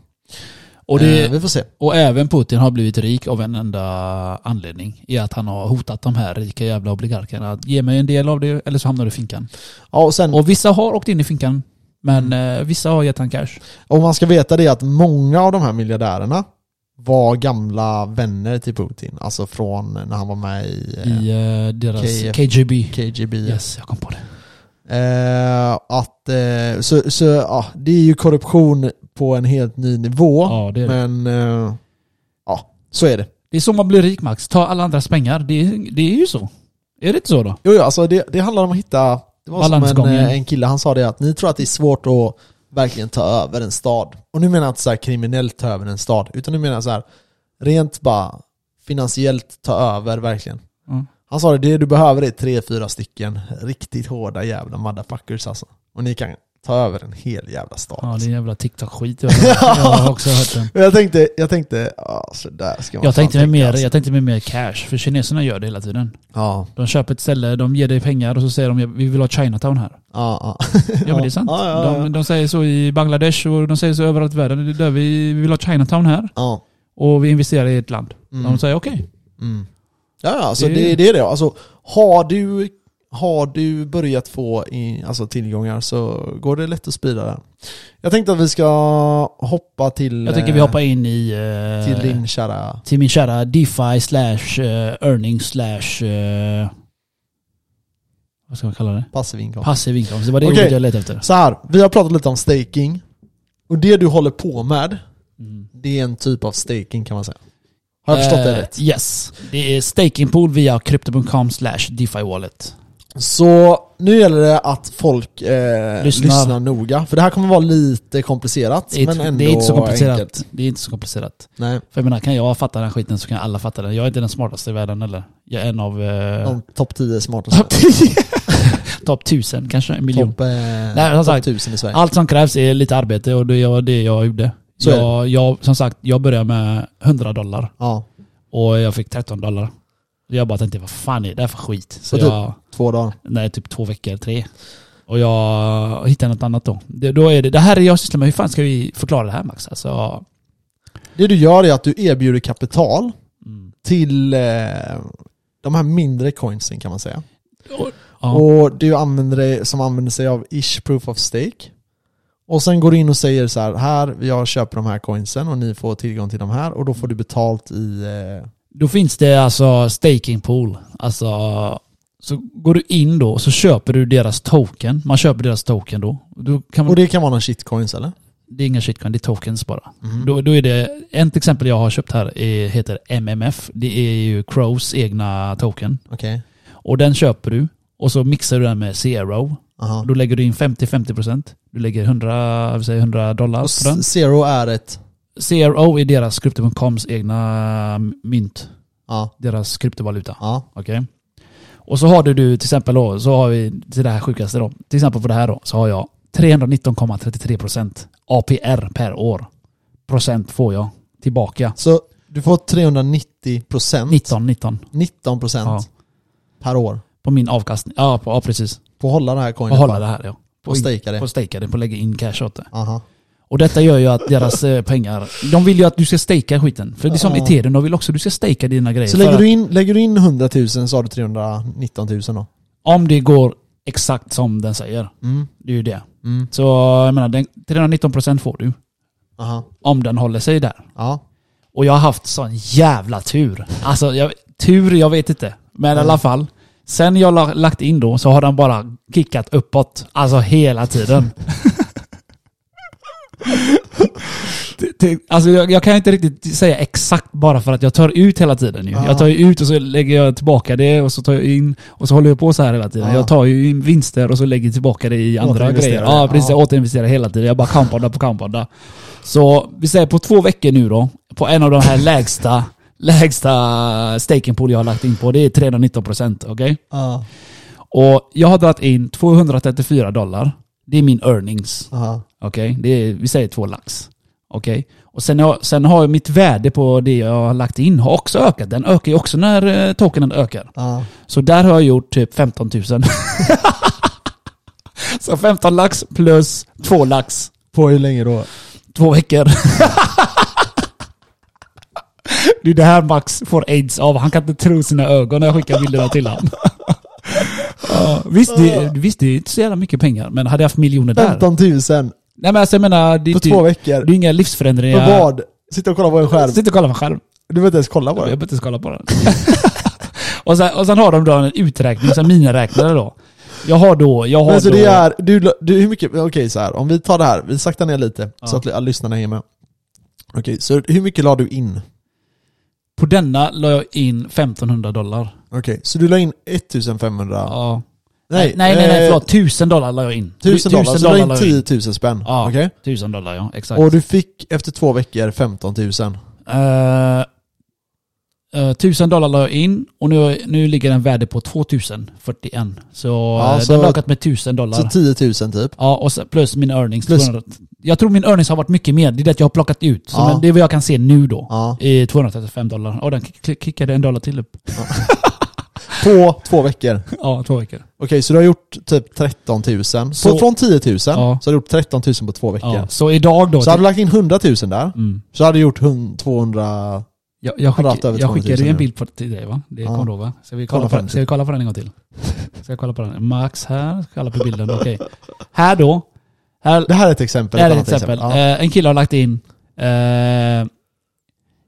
S3: Och, det,
S2: eh, vi får se.
S3: och även Putin har blivit rik av en enda anledning. I att han har hotat de här rika jävla oligarkerna. att Ge mig en del av det eller så hamnar du i finkan.
S2: Ja, och sen,
S3: Och vissa har åkt in i finkan. Men
S2: Mm.
S3: eh, vissa har gett han cash.
S2: Och man ska veta det att många av de här miljardärerna var gamla vänner till Putin. Alltså från när han var med i, eh,
S3: I eh, deras
S2: KF.
S3: KGB.
S2: KGB.
S3: Yes, jag kom på det.
S2: Eh, att, eh, så så ja, det är ju korruption på en helt ny nivå.
S3: Ja, det är det.
S2: men eh, ja, så är det.
S3: Det är så man blir rik Max. Ta alla andras pengar. Det, är- det är ju så. Är det inte så då?
S2: Jo, jo alltså det, det handlar om att hitta... Det var som en,
S3: Balansgången.
S2: eh, en kille, han sa det att ni tror att det är svårt att verkligen ta över en stad. Och nu menar jag inte så här kriminellt ta över en stad, utan nu menar jag så här rent bara finansiellt ta över verkligen.
S3: Mm.
S2: Han sa det, det du behöver är tre, fyra stycken riktigt hårda jävla motherfuckers alltså. Och ni kan ta över en hel jävla stad.
S3: Ja, det är
S2: alltså.
S3: en jävla TikTok-skit. Jag,
S2: *laughs*
S3: jag har också hört den.
S2: Och jag tänkte, jag tänkte, ja sådär ska man
S3: Jag
S2: fan
S3: tänkte, mig
S2: tänka,
S3: mer,
S2: alltså.
S3: jag tänkte mig mer cash, för kineserna gör det hela tiden.
S2: Ja,
S3: De köper ett ställe, de ger dig pengar och så säger de vi vill ha Chinatown här.
S2: ja, ja.
S3: Ja, men det är sant.
S2: Ja, ja, ja.
S3: De, de säger så i Bangladesh och de säger så överallt i världen. Det är där vi, vi vill ha Chinatown här
S2: ja.
S3: och vi investerar i ett land.
S2: Mm.
S3: De säger okej.
S2: Mm. Ja, ja, alltså
S3: Det-
S2: det, det, är det. Alltså, har, du, har du börjat få i, alltså, tillgångar så går det lätt att sprida det. Jag tänkte att vi ska hoppa till,
S3: Jag tänker vi
S2: eh,
S3: hoppar in i... eh,
S2: till din kära...
S3: till min kära DeFi slash eh, earning slash... eh, vad ska man kalla det?
S2: passiv inkomst.
S3: Passiv inkomst. Det var det
S2: Okej.
S3: ordet jag letade efter.
S2: Så här, vi har pratat lite om staking. Och det du håller på med,
S3: Mm.
S2: det är en typ av staking kan man säga. Har jag förstått
S3: Eh,
S2: det rätt?
S3: Yes. Det är stakingpool via crypto.com slash DeFi wallet.
S2: Så nu gäller det att folk eh,
S3: Lyssnar.
S2: lyssnar. noga. För det här kommer vara lite komplicerat.
S3: Det är,
S2: men
S3: inte-
S2: ändå
S3: det är inte så komplicerat.
S2: enkelt.
S3: Det är inte så komplicerat.
S2: Nej,
S3: För jag menar, kan jag fatta den här skiten så kan alla fatta den. Jag är inte den smartaste i världen eller? Jag är en av... Eh,
S2: de topp 10 smartaste.
S3: Topp 10! Topp 1000 kanske, en miljon.
S2: Topp, eh,
S3: som
S2: topp
S3: sagt,
S2: 1000 i Sverige.
S3: Allt som krävs är lite arbete och det var det jag gjorde.
S2: Så är det.
S3: jag, jag, som sagt, jag började med 100 dollar
S2: ja,
S3: och jag fick 13 dollar. Jag bara tänkte, vad fan är det här för skit? Så
S2: Och du-
S3: jag,
S2: två dagar.
S3: nej, typ två veckor, tre. Och jag hittade något annat då. Det, då är det, det här är jag sysslar med, hur fan ska vi förklara det här Max? Alltså,
S2: Det du gör är att du erbjuder kapital
S3: mm.
S2: till eh, de här mindre coinsen kan man säga.
S3: ja.
S2: Och du använder dig, som använder sig av ish proof of stake. Och sen går du in och säger så här, här, jag köper de här coinsen och ni får tillgång till de här och då får du betalt i... Eh,
S3: Då finns det alltså staking pool. Alltså, så går du in då och så köper du deras token. Man köper deras token då. då kan man,
S2: och
S3: det,
S2: det kan vara någon shitcoins eller?
S3: är inga shitcoin, det är tokens bara.
S2: Mm.
S3: Då, då är det, en till exempel jag har köpt här är, heter MMF. Det är ju Crows egna token.
S2: Okej.
S3: Och den köper du och så mixar du den med Zero.
S2: Aha.
S3: Då lägger du in 50-50%. Du lägger 100, vad säger jag, 100 dollar
S2: Och
S3: på den.
S2: zero är ett...
S3: Zero är deras Crypto.coms egna mynt.
S2: Ja,
S3: Deras kryptovaluta.
S2: ja,
S3: Okej. Och så har du, du till exempel då, så har vi till det här sjukaste då. Till exempel på det här då så har jag 319,33% APR per år. Procent får jag tillbaka.
S2: så du får 390 procent.
S3: 19, 19
S2: 19 procent
S3: Ja.
S2: per år
S3: på min avkastning. Ja, på, ja precis.
S2: på att hålla den här
S3: På
S2: coinen.
S3: att hålla det här ja.
S2: På att stejka det.
S3: På att stejka det, på att lägga in cash åt det.
S2: Aha.
S3: Och detta gör ju att deras eh, pengar, de vill ju att du ska stejka skiten. För det är som
S2: Ja.
S3: Ethereum, de vill också att du ska stejka dina grejer.
S2: Så
S3: För
S2: lägger
S3: att
S2: du, in, lägger du in 100 000 så har du 319 000 då?
S3: Om det går exakt som den säger.
S2: Mm.
S3: Det är ju det.
S2: Mm.
S3: Så jag menar, den, 319% får du.
S2: Aha.
S3: Om den håller sig där.
S2: Ja.
S3: Och jag har haft sån jävla tur. Alltså, jag, tur, jag vet inte. Men i alla fall. Sen jag la, lagt in då så har den bara kickat uppåt. Alltså
S2: *laughs*
S3: hela tiden. Det- det- alltså jag, jag kan inte riktigt säga exakt bara för att jag tar ut hela tiden ju.
S2: Ja.
S3: Jag tar ju ut och så lägger jag tillbaka det och så tar jag in och så håller jag på så här hela tiden.
S2: Ja.
S3: Jag tar ju in vinster och så lägger jag tillbaka det i andra
S2: Återinvesterar
S3: grejer.
S2: det.
S3: Ja, precis.
S2: Ja.
S3: Jag återinvesterar hela tiden. Jag bara kampar på kampar så vi säger på två veckor nu då, på en av de här lägsta, *laughs* lägsta stakingpool jag har lagt in på, det är 319 procent. Okej?
S2: Ja.
S3: Och jag har dragit in 234 dollar. Det är min earnings.
S2: Aha.
S3: Okej? Det är, vi säger två lax. Okej? Och sen, har- sen har ju mitt värde på det jag har lagt in har också ökat. Den ökar ju också när eh, tokenen ökar.
S2: Ja.
S3: Så där har jag gjort typ 15 000. *laughs* Så 15 lax plus 2 lax.
S2: På hur länge då?
S3: Två veckor. Det är det här Max får aids av. Han kan inte tro sina ögon när jag skickar bilderna till honom. Ja, visst, det, visst, det är inte så jävla mycket pengar, men hade jag haft miljoner där.
S2: 15 000
S3: Nej men alltså jag menar, det är,
S2: på
S3: inte,
S2: två
S3: det
S2: veckor.
S3: är inga
S2: För
S3: livsförändringar.
S2: vad? Sitta och kolla på en skärm.
S3: Sitt och kolla på skärm.
S2: Du behöver inte ens kolla på
S3: Jag
S2: det.
S3: behöver inte ens kolla på den. *laughs* och, sen, och sen har de då en uträkning, så här miniräknare då. Jag har då, jag har
S2: Men så
S3: då...
S2: det är, du, du hur mycket, okej så här, om vi tar det här, vi saktar ner lite
S3: Ja.
S2: så att li- lyssnarna hänger med. Okej, så hur mycket la du in?
S3: På denna la jag in 1500 dollar.
S2: Okej, så du la in 1500?
S3: Ja. Nej, nej, nej,
S2: eh,
S3: nej förlåt. 1000 dollar la jag in.
S2: 1000 dollar, så du la
S3: la jag
S2: in 10 000 spänn?
S3: Ja,
S2: Okej?
S3: 1000 dollar ja, exakt.
S2: Och du fick efter två veckor 15 000?
S3: Eh, eh, 1000 dollar la jag in och nu, nu ligger den värde på 2041. Så
S2: Ja,
S3: eh,
S2: så-
S3: den har ökat med 1000 dollar.
S2: Så 10 000 typ?
S3: Ja, och sen, plus min earnings.
S2: Plus-
S3: 200. Jag tror min earnings har varit mycket mer. Det är det att jag har plockat ut. Så
S2: Ja.
S3: men det är vad jag kan se nu då.
S2: Ja.
S3: I 235 dollar. Och den kick- kickade en dollar till upp. *laughs*
S2: På två veckor? Okej,
S3: Ja, två veckor.
S2: så du har gjort typ 13 000?
S3: Så-
S2: på, från 10 000 så
S3: Ja.
S2: har du gjort 13 000 på två veckor.
S3: Ja. Så idag då...
S2: Så hade du lagt in 100 000 där,
S3: mm.
S2: så hade du gjort hun- 200...
S3: Jag, jag,
S2: Har du haft
S3: skick,
S2: över
S3: jag
S2: 200 000
S3: skickade ju en
S2: nu?
S3: bild på, till dig va? Det
S2: Ja.
S3: kommer du ihåg va? Ska vi, kolla
S2: Kolla
S3: på,
S2: fram.
S3: ska vi kolla på den en gång till? Ska jag kolla på den? Max här. Ska kolla på bilden. Okej. Här då. Här,
S2: Det här är ett exempel.
S3: här är ett
S2: annat
S3: exempel.
S2: Ja.
S3: Eh, en kille har lagt in... Eh,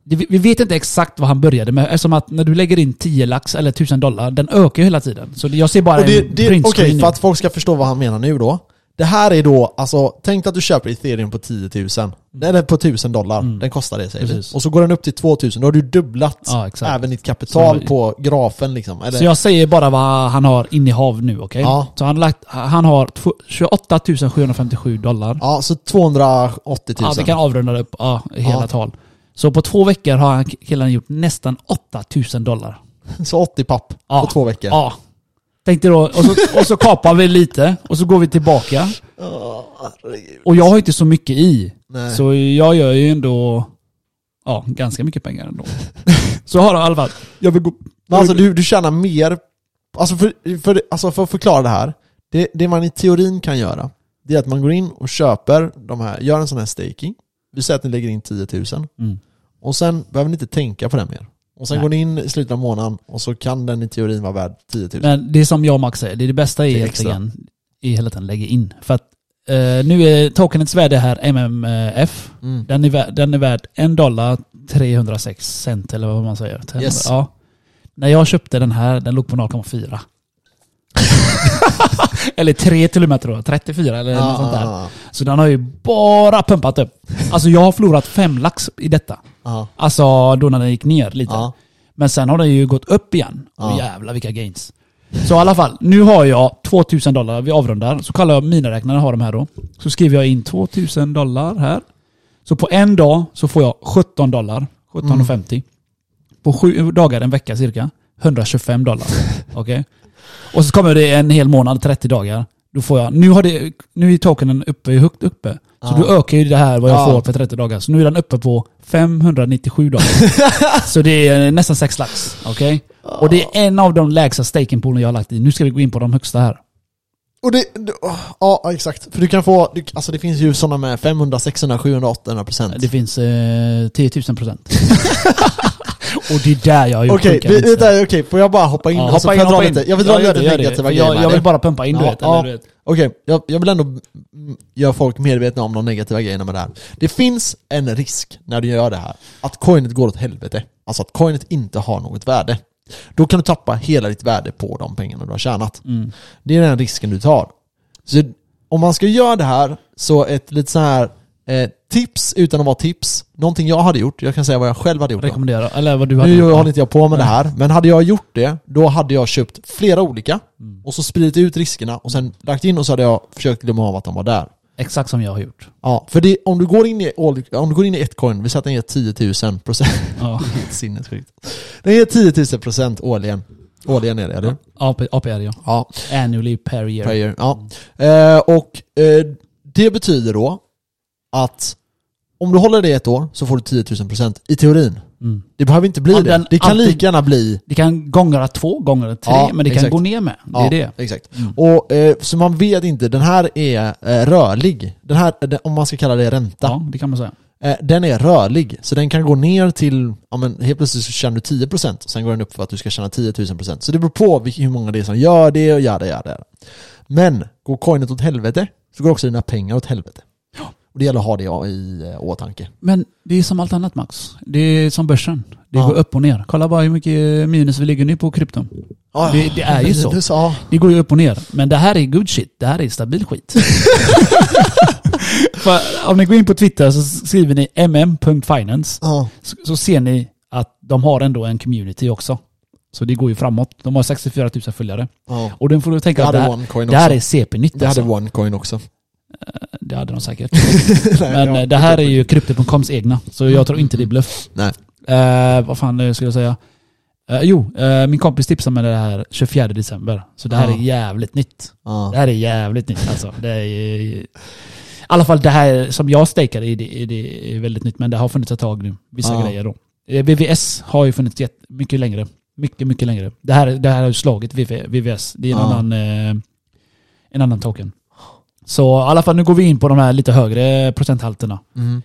S3: det- vi- vi vet inte exakt vad han började med eftersom att när du lägger in 10 lax eller 1000 dollar, den ökar ju hela tiden. Så det- jag ser bara
S2: Och det,
S3: en
S2: det, Okej,
S3: print screen nu.
S2: för att folk ska förstå vad han menar nu då. Det här är då, alltså, tänk dig att du köper ethereum på 10 000. Eller på 1000 dollar, den kostar det säger
S3: Mm. Precis.
S2: vi. Och så går den upp till 2000, då har du dubblat
S3: Ja, exakt.
S2: även ditt kapital
S3: Så-
S2: på grafen liksom. Eller,
S3: Så jag säger bara vad han har innehav nu, okej?
S2: Ja.
S3: Så han, har lagt, han har tw- 28 757 dollar.
S2: Ja, så 280 000.
S3: Ja, vi kan avrunda upp ja, hela
S2: Typ Ja.
S3: tal. Så på två veckor har han, killen gjort nästan 8000 dollar.
S2: *laughs* Så 80 papp
S3: Ja.
S2: på två veckor.
S3: Ja. Tänkte då, och så, och så kapar vi lite och så går vi tillbaka. Och jag har inte så mycket i.
S2: Nej.
S3: Så jag gör ju ändå ja, ganska mycket pengar
S2: *laughs*
S3: ändå. så har han i alla fall. Jag vill gå...
S2: Men alltså du, du tjänar mer... Alltså för, för, alltså för att förklara det här. Det, det man i teorin kan göra, det är att man går in och köper de här, gör en sån här staking. Vi säger att ni lägger in 10 000.
S3: Mm.
S2: Och sen behöver ni inte tänka på den mer. Och sen
S3: Nej.
S2: går ni in i slutet av månaden och så kan den i teorin vara värd 10 000.
S3: Men det är som jag och Max säger, det är det bästa är
S2: Det är
S3: egentligen i hela tiden lägga in. För att eh, nu är tokenets värde här MMF.
S2: Mm.
S3: Den är, värd, den är värd en dollar 306 cent eller vad man säger. 300,
S2: Yes.
S3: Ja. När jag köpte den här, den låg på 0,4.
S2: *laughs*
S3: eller 3 till och med tror jag. 34 eller något sånt där.
S2: ah,
S3: Så den har ju bara pumpat upp. Alltså jag har förlorat 5 lax i detta.
S2: ah,
S3: Alltså då när den gick ner lite.
S2: ah.
S3: Men sen har den ju gått upp igen.
S2: Ja.
S3: Och jävlar vilka gains. Så i alla fall, nu har jag 2000 dollar, vi avrundar. Så kollar jag miniräknaren, har de här då. Så skriver jag in 2000 dollar här. Så på en dag så får jag 17 dollar, 17,50.
S2: Mm.
S3: På sju dagar, en vecka cirka,
S2: *laughs*
S3: 125 dollar. Okej? Och så kommer det en hel månad, 30 dagar. Då får jag, nu, har det, nu är tokenen uppe, högt uppe. Så
S2: Ja.
S3: då ökar ju det här vad jag
S2: Ja.
S3: får för 30 dagar. Så nu är den uppe på 597 dollar. Så det är eh, nästan sex lax. Okej? Och det är en av de lägsta stakenpoolen jag har lagt i. Nu ska vi gå in på de högsta här.
S2: Och det, det- ah, ja exakt. För du kan få, du, alltså det finns ju sådana med 500, 600, 700, 800 procent.
S3: Det finns eh, 10
S2: *laughs*
S3: 000 procent. och det är där jag har gjort
S2: Okej,
S3: sjuka
S2: vi-
S3: vinster.
S2: vänta, okej, får jag bara hoppa in?
S3: Ja,
S2: Alltså,
S3: hoppa
S2: får
S3: in,
S2: jag, dra
S3: hoppa in.
S2: lite, jag vill dra
S3: gör
S2: lite
S3: det, gör det.
S2: negativa
S3: För
S2: grejer
S3: jag,
S2: med
S3: jag
S2: det.
S3: vill bara pumpa in du
S2: Ja,
S3: vet. eller
S2: ja.
S3: du vet.
S2: Okej, jag, jag vill ändå mm, göra folk medvetna om de negativa grejerna med det här. Det finns en risk när du gör det här, att coinet går åt helvete. Alltså att coinet inte har något värde. Då kan du tappa hela ditt värde på de pengarna du har tjänat.
S3: Mm.
S2: Det är den risken du tar. Så om man ska göra det här, så ett lite så här eh, tips utan att vara tips. Någonting jag hade gjort, jag kan säga vad jag själv hade gjort. då.
S3: Rekommendera. Eller vad du Typ hade
S2: Nu
S3: gjort.
S2: håller inte jag på med det här, men hade jag gjort det, då hade jag köpt flera olika
S3: Mm.
S2: och så spridit ut riskerna och sen lagt in och så hade jag försökt glömma av att de var där.
S3: Exakt som jag har gjort.
S2: Ja, för det, om, du går in i, all- om du går in i ett coin, vi säger att den ger 10 000 procent. *laughs*
S3: Ja.
S2: Sinnessjukt. Den ger 10 000 procent årligen. Årligen är det, eller?
S3: AP, APR ja.
S2: Ja.
S3: Annually per year.
S2: Prayer,
S3: Mm.
S2: ja. Eh, och eh, det betyder då att Om du håller det i ett år så får du 10 000% i teorin.
S3: Mm.
S2: Det behöver inte bli
S3: Ja,
S2: det.
S3: den
S2: Det kan
S3: alltid-
S2: lika gärna bli...
S3: Det kan gångra två, gånger tre,
S2: Ja,
S3: men det
S2: exakt.
S3: kan gå ner med. Det
S2: Ja,
S3: är det. Mm.
S2: Exakt. Och, eh, så man vet inte, den här är eh, rörlig. Den här, eh, om man ska kalla det ränta.
S3: Ja, det kan man säga.
S2: Eh, den är rörlig, så den kan gå ner till, ja men helt plötsligt så tjänar du 10% och sen går den upp för att du ska tjäna 10 000%. Så det beror på vil- hur många det är som gör det och gör det, gör det. Men går coinet åt helvete så går också dina pengar åt helvete. Och det gäller att ha det i- i eh, åtanke.
S3: Men det är som allt annat Max. Det är som börsen. Det
S2: Ja.
S3: går upp och ner. Kolla bara hur mycket minus vi ligger nu på krypton. Det- det är ju så. *laughs*
S2: Minus, ja.
S3: Det går ju upp och ner. Men det här är good shit. Det här är stabil
S2: *laughs*
S3: skit. För om ni går in på Twitter så skriver ni mm.finance
S2: Ja.
S3: så, så ser ni att de har ändå en community också. Så det går ju framåt. De har 64 000 följare.
S2: ja.
S3: Och då får du tänka
S2: Jag
S3: att det
S2: hade
S3: här,
S2: OneCoin
S3: det här
S2: också.
S3: är CP-nytt
S2: Jag hade
S3: alltså.
S2: OneCoin också.
S3: Det hade de säkert.
S2: *laughs* Nej,
S3: Men
S2: ja.
S3: eh, det här är ju Crypto.coms egna, så jag tror inte det är bluff.
S2: Nej.
S3: Eh, vad fan eh, skulle jag säga? Eh, jo, eh, min kompis tipsade mig det här 24 december. Så det här
S2: Ja.
S3: är jävligt nytt.
S2: Ja.
S3: Det här är jävligt nytt alltså. Det är, I alla fall det här som jag stakar i, det, är det är väldigt nytt. Men det har funnits ett tag nu. Vissa
S2: Ja.
S3: grejer då. Eh, VVS har ju funnits jätte- mycket längre. Mycket, mycket längre. Det här, det här har ju slagit VV, VVS. Det är en,
S2: Ja.
S3: annan, eh, en annan token. Så i alla fall nu går vi in på de här lite högre procenthalterna.
S2: Mm.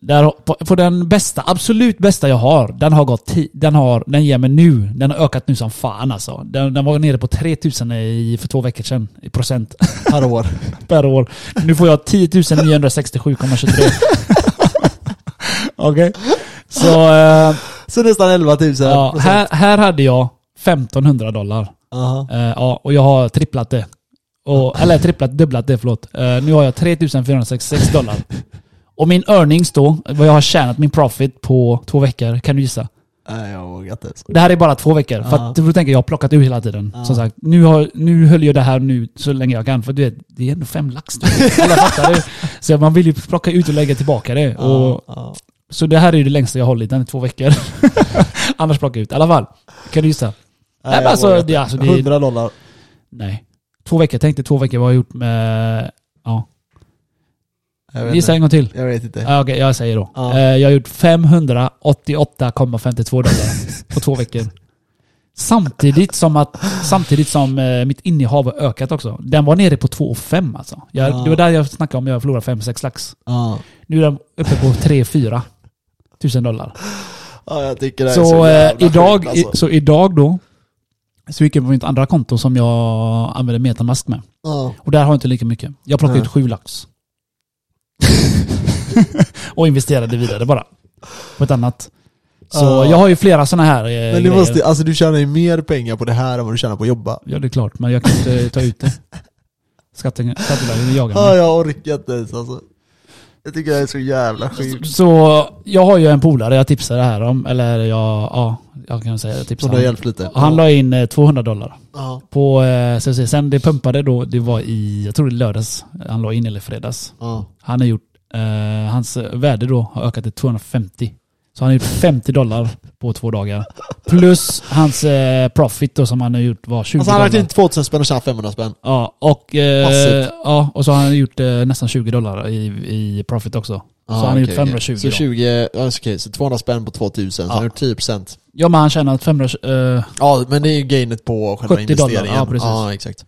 S3: Där, har- på, på den bästa, absolut bästa jag har, den har gått ti- den, har, den ger mig nu. Den har ökat nu som fan alltså. Den, den var nere på 3000 i, för två veckor sedan i procent *laughs*
S2: Per år.
S3: per år. Nu får jag 10 967,23. Okej. Så eh,
S2: Så nästan 11 000
S3: ja, här, här hade jag 1500 dollar.
S2: Aha.
S3: Eh, ja, och jag har tripplat det. Och, eller tripplat, dubblat det, förlåt. Eh, nu har jag 3466 dollar. Och min earnings då, vad jag har tjänat, min profit på två veckor, kan du gissa?
S2: Nej, jag vågar inte ens.
S3: Det här är bara två veckor. För
S2: Ja.
S3: att du tänker, jag har plockat ur hela tiden. Som sagt, nu, har, nu höll jag det här nu så länge jag kan. För du vet, det är ändå fem lax.
S2: *laughs*
S3: nu. Alla fattar det. Så man vill ju plocka ut och lägga tillbaka det. Och,
S2: Ja.
S3: så det här är ju det längsta jag har hållit, den är
S2: *laughs*
S3: två veckor. Annars plocka ut. I alla fall, kan du gissa?
S2: Nej,
S3: Nej, men
S2: jag
S3: alltså,
S2: vågar inte.
S3: det- alltså, det-
S2: 100 dollar.
S3: Nej. Två veckor, tänkte två veckor vad har jag gjort med... Ja.
S2: Jag vet
S3: Gissa
S2: inte.
S3: en gång till.
S2: Jag vet inte.
S3: Ja, Okej, jag säger då.
S2: Ja.
S3: Eh, Jag har gjort 588,52 dollar på två veckor. Samtidigt som, att, samtidigt som eh, mitt innehav har ökat också. Den var nere på 2,5 alltså. Jag,
S2: Ja.
S3: Det var där jag snackade om jag förlorade 5-6 lax.
S2: Ja.
S3: Nu är den uppe på 3-4 tusen dollar.
S2: ja, jag tycker det här är
S3: Så,
S2: så
S3: eh,
S2: jävla
S3: idag,
S2: sjukt, alltså.
S3: i, så idag då, så gick jag på mitt andra konto som jag använder metamask med.
S2: Ja.
S3: Och där har jag inte lika mycket. Jag plockade
S2: Nej.
S3: ut sju lax. *laughs* och investerade vidare bara. På ett annat. Så
S2: Ja.
S3: jag har ju flera sådana här eh,
S2: Men du,
S3: grejer.
S2: måste, alltså, du tjänar ju mer pengar på det här än vad du tjänar på att jobba.
S3: Ja det är klart, men jag kan inte ta ut det. Skatten- Skatteverket jagar mig.
S2: Ja, jag orkar inte ens alltså. Jag tycker det här är så jävla
S3: Alltså,
S2: sjukt.
S3: Så jag har ju en polare jag tipsade här om. Eller jag, ja, jag kan säga
S2: Så det
S3: jag
S2: har
S3: tipsade.
S2: hjälpt lite.
S3: Han, han la in eh, 200 dollar.
S2: Ja.
S3: På, eh, så att säga, sen det pumpade då, det var i, jag tror det är lördags han la in eller fredags.
S2: Ja.
S3: Han har gjort, eh, hans värde då har ökat till 250. Så han har gjort 50 dollar på två dagar. Plus hans eh, profit då som han har gjort var 20
S2: Alltså han har lagt
S3: dollar.
S2: in 2000 spänn och tjänat 500 spänn.
S3: Ja och, eh,
S2: Passivt.
S3: ja, och så har han gjort eh, nästan 20 dollar i, i profit också.
S2: Ja,
S3: så han har
S2: okej,
S3: gjort
S2: okej.
S3: 520
S2: Så
S3: då.
S2: 20, ja, så okej, så 200 spänn på 2000, så
S3: Ja.
S2: han har gjort 10%.
S3: Ja men han tjänar 520, eh,
S2: Ja, men det är ju gainet på själva
S3: 70 dollar,
S2: investeringen.
S3: ja, precis.
S2: ja, exakt.